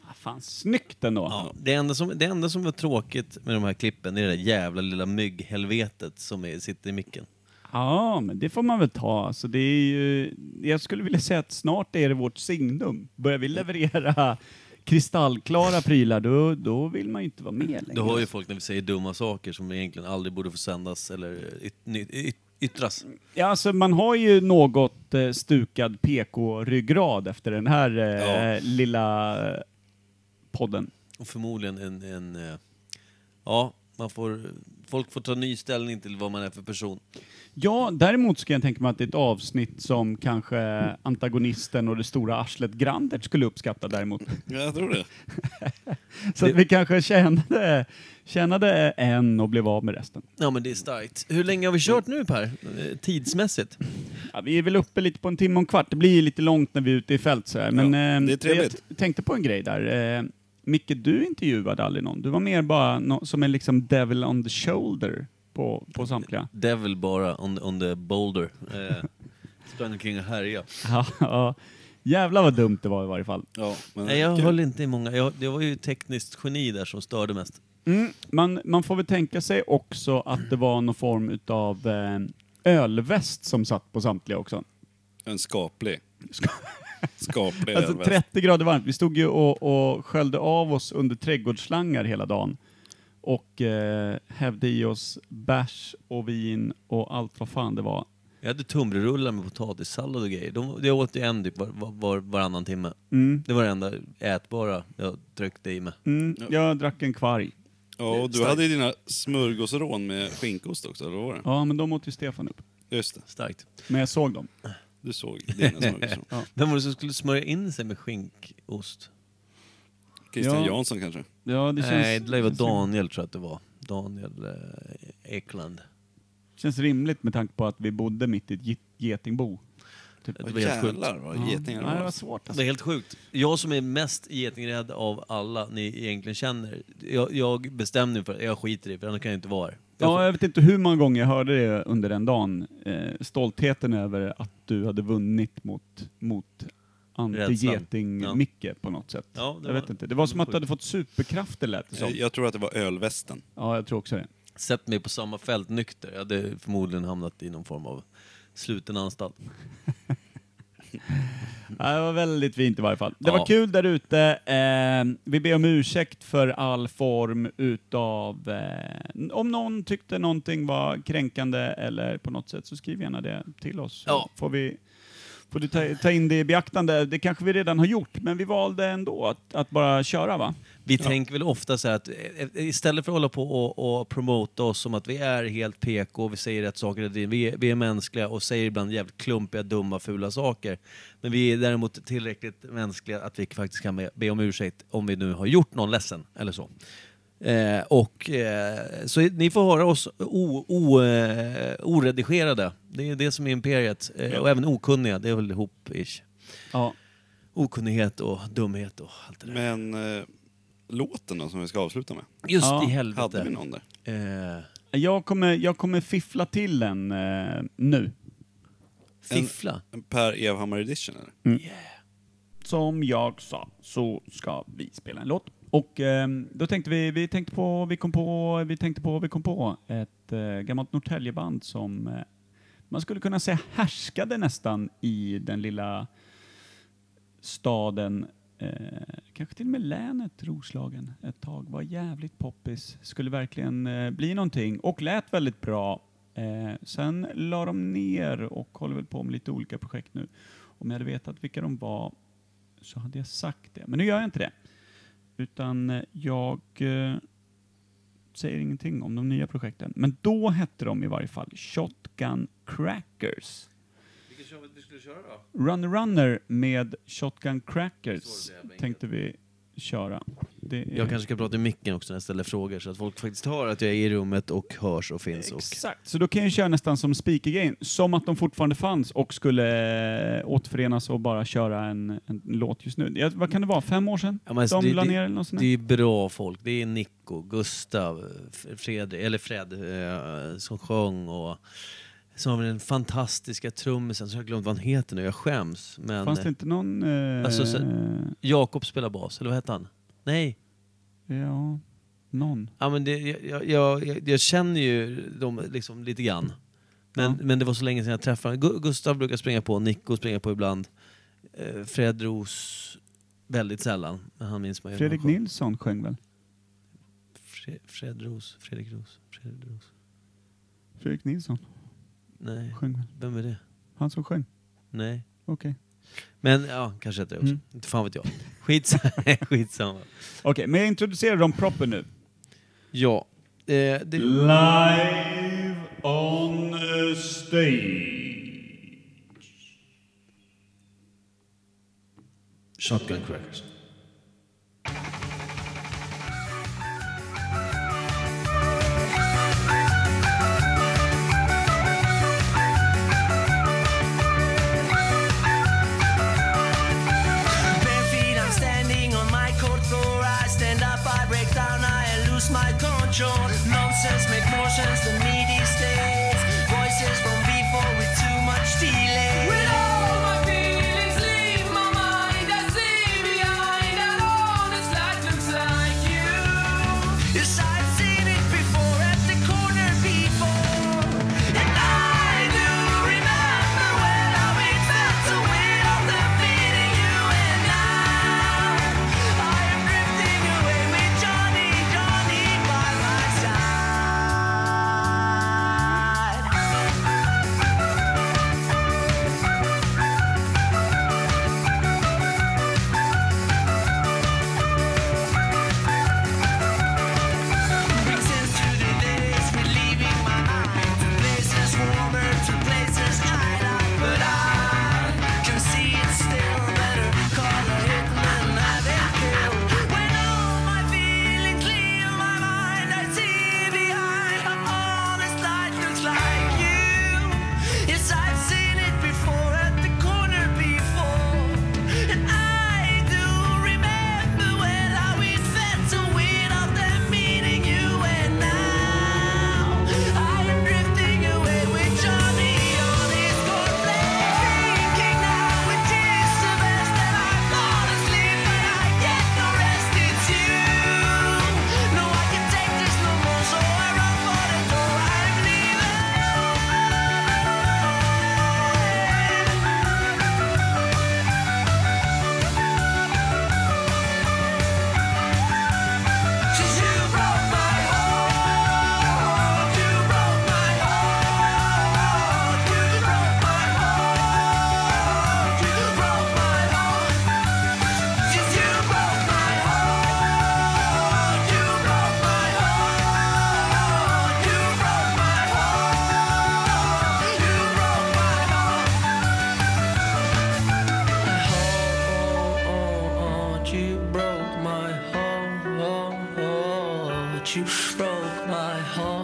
Ah, Fan, snyggt ändå.
Ja, det, enda som, det enda som var tråkigt med de här klippen är det där jävla lilla mygghelvetet som är, sitter i micken.
Ja, men det får man väl ta. Alltså, det är ju, jag skulle vilja säga att snart är det vårt signum. Börjar vi leverera kristallklara prylar, då, då vill man ju inte vara med längre.
Du hör ju folk när vi säger dumma saker som egentligen aldrig borde få sändas eller yt, ny- yt, yttras.
Ja, alltså man har ju något eh, stukad PK-ryggrad efter den här eh, lilla eh, podden.
Och förmodligen en... en eh, ja, man får, folk får ta ny ställning till vad man är för person.
Ja, däremot så kan jag tänka mig att det är ett avsnitt som kanske antagonisten och det stora arslet Grandert skulle uppskatta däremot.
Ja, jag tror det.
Så att vi kanske tjänade, tjänade en och blev av med resten.
Ja, men det är starkt. Hur länge har vi kört nu Per? Eh, Tidsmässigt?
Ja, vi är väl uppe lite på en timme och en kvart. Det blir ju lite långt när vi är ute i fält så här. Men eh,
det är trevligt.
jag t- tänkte på en grej där. Eh, Micke, du intervjuade aldrig någon. Du var mer bara nå- som en liksom devil on the shoulder på, på samtliga.
Devil bara on, on the boulder. Eh, Sprang omkring och härjade.
Ja, <laughs> ja. Jävlar vad dumt det var i varje fall.
Nej, jag höll inte i många. Jag, det var ju tekniskt geni där som störde mest.
Mm, man, man får väl tänka sig också att det var någon form utav eh, ölväst som satt på samtliga också.
En skaplig. <laughs> skaplig
Alltså
ölväst.
30 grader varmt. Vi stod ju och, och sköljde av oss under trädgårdsslangar hela dagen och eh, hävde i oss bärs och vin och allt vad fan det var.
Jag hade tunnbrödsrullar med potatissallad och grejer. De, jag åt ju en typ var, var, var, varannan timme.
Mm.
Det var det enda ätbara jag tryckte i mig.
Mm, jag drack en kvarg.
Ja, och du
Starkt.
hade ju dina smörgåsrån med skinkost också, eller vad var det?
Ja, men de åt ju Stefan upp.
Just det.
Starkt.
Men jag såg dem.
Du såg dina smörgåsrån.
Vem var det som skulle smörja in sig med skinkost?
Christian Ja. Jansson kanske?
Ja, det
Nej,
känns-
det var
känns rimligt.
Daniel tror jag att det var. Daniel eh, Ekland.
Känns rimligt med tanke på att vi bodde mitt i ett get- getingbo. Typ.
Det var helt sjukt.
Nej, det var svårt alltså.
Det är helt sjukt. Jag som är mest getingrädd av alla ni egentligen känner. Jag, jag bestämde mig för att jag skiter i det, för annars kan jag inte vara här.
Ja, jag vet inte hur många gånger jag hörde det under den dagen. Eh, stoltheten över att du hade vunnit mot, mot
Rädslan.
anti-geting-Micke på något sätt.
Ja, det
jag
var-
vet inte. Det var
det
som
var
att du hade fått superkrafter lät det som.
Jag, jag tror att det var ölvästen.
Ja, jag tror också det.
Sett mig på samma fält nykter. Jag hade förmodligen hamnat i någon form av sluten anstalt.
Ja, det var väldigt fint i varje fall. Det
Ja.
var kul där ute. Eh, vi ber om ursäkt för all form utav... Eh, om någon tyckte någonting var kränkande eller på något sätt så skriv gärna det till oss. Ja. Får, vi, får du ta, ta in det i beaktande. Det kanske vi redan har gjort, men vi valde ändå att, att bara köra va?
Vi tänker väl ofta så här att eh, eh, istället för att hålla på och, och promota oss som att vi är helt PK, vi säger rätt saker, hela tiden, vi är, vi är mänskliga och säger ibland jävligt klumpiga, dumma, fula saker. Men vi är däremot tillräckligt mänskliga att vi faktiskt kan be, be om ursäkt om vi nu har gjort någon ledsen eller så. Eh, och, eh, så ni får höra oss o, o, eh, oredigerade. Det är det som är imperiet. Eh, och även okunniga, det är väl ihop-ish.
Ja.
Okunnighet och dumhet och allt det där.
Men eh, låten då, som vi ska avsluta med?
Just Ja. i helvete. Eh,
Hade vi någon där?
Jag, kommer, jag kommer fiffla till den eh, nu.
En, en per Evhammar edition eller?
Mm. Som jag sa så ska vi spela en låt. Och ehm, då tänkte vi, vi tänkte på, vi kom på, vi tänkte på, vi kom på ett eh, gammalt Norrtäljeband som eh, man skulle kunna säga härskade nästan i den lilla staden, eh, kanske till och med länet Roslagen ett tag. Var jävligt poppis, skulle verkligen eh, bli någonting och lät väldigt bra. Eh, sen la de ner och håller väl på med lite olika projekt nu. Om jag hade vetat vilka de var så hade jag sagt det. Men nu gör jag inte det. Utan eh, jag eh, säger ingenting om de nya projekten. Men då hette de i varje fall Shotgun Crackers.
Vilken kör vi skulle köra då?
Runner Runner med Shotgun Crackers tänkte vi köra. Det är-
Jag kanske ska prata i micken också när jag ställer frågor så att folk faktiskt hör att jag är i rummet och hörs och finns. Och...
Exakt, så då kan jag köra nästan som speakergrejen. Som att de fortfarande fanns och skulle eh, återförenas och bara köra en, en låt just nu. Ja, vad kan det vara, fem år sedan?
Ja, men alltså,
de
det,
la
det-
ner eller något sånt där?
Det är bra folk. Det är Nico, Gustav, F- Fredrik, eller Fred eh, som sjöng och som har den fantastiska trummisen som jag har glömt vad han heter nu. Jag skäms. Men,
Fanns det inte någon, eh,
Alltså, så, Jakob spelar bas, eller vad hette han? Nej.
Ja, någon.
Ja, men det, jag- jag, jag, jag, jag känner ju dem liksom lite grann. Men, men det var så länge sedan jag träffade dem. Gu- Gustav brukar springa på, Nico springer på ibland. Eh, Fred Ros väldigt sällan. Men han minns man ju.
Fredrik Nilsson sjöng väl?
Fre, Fred Ros, Fredrik Ros, Fred Ros.
Fredrik Nilsson?
Nej,
Sjöng väl?
vem är det?
Han som sjöng?
Nej.
Okej.
Men ja, kanske heter det också.
Mm.
Inte fan vet jag. Skitsamma. <laughs> Skitsamma.
Okej, men jag introducerar dem proper nu.
Ja. Eh, det...
Live on a stage.
Shotgun crackers.
Bare feet, I'm standing on my cold floor. I stand up, I break down, I lose my control. Nonsense make more sense than me these days. Voices from before with too much delay.
oh,
you broke my heart. You broke my heart.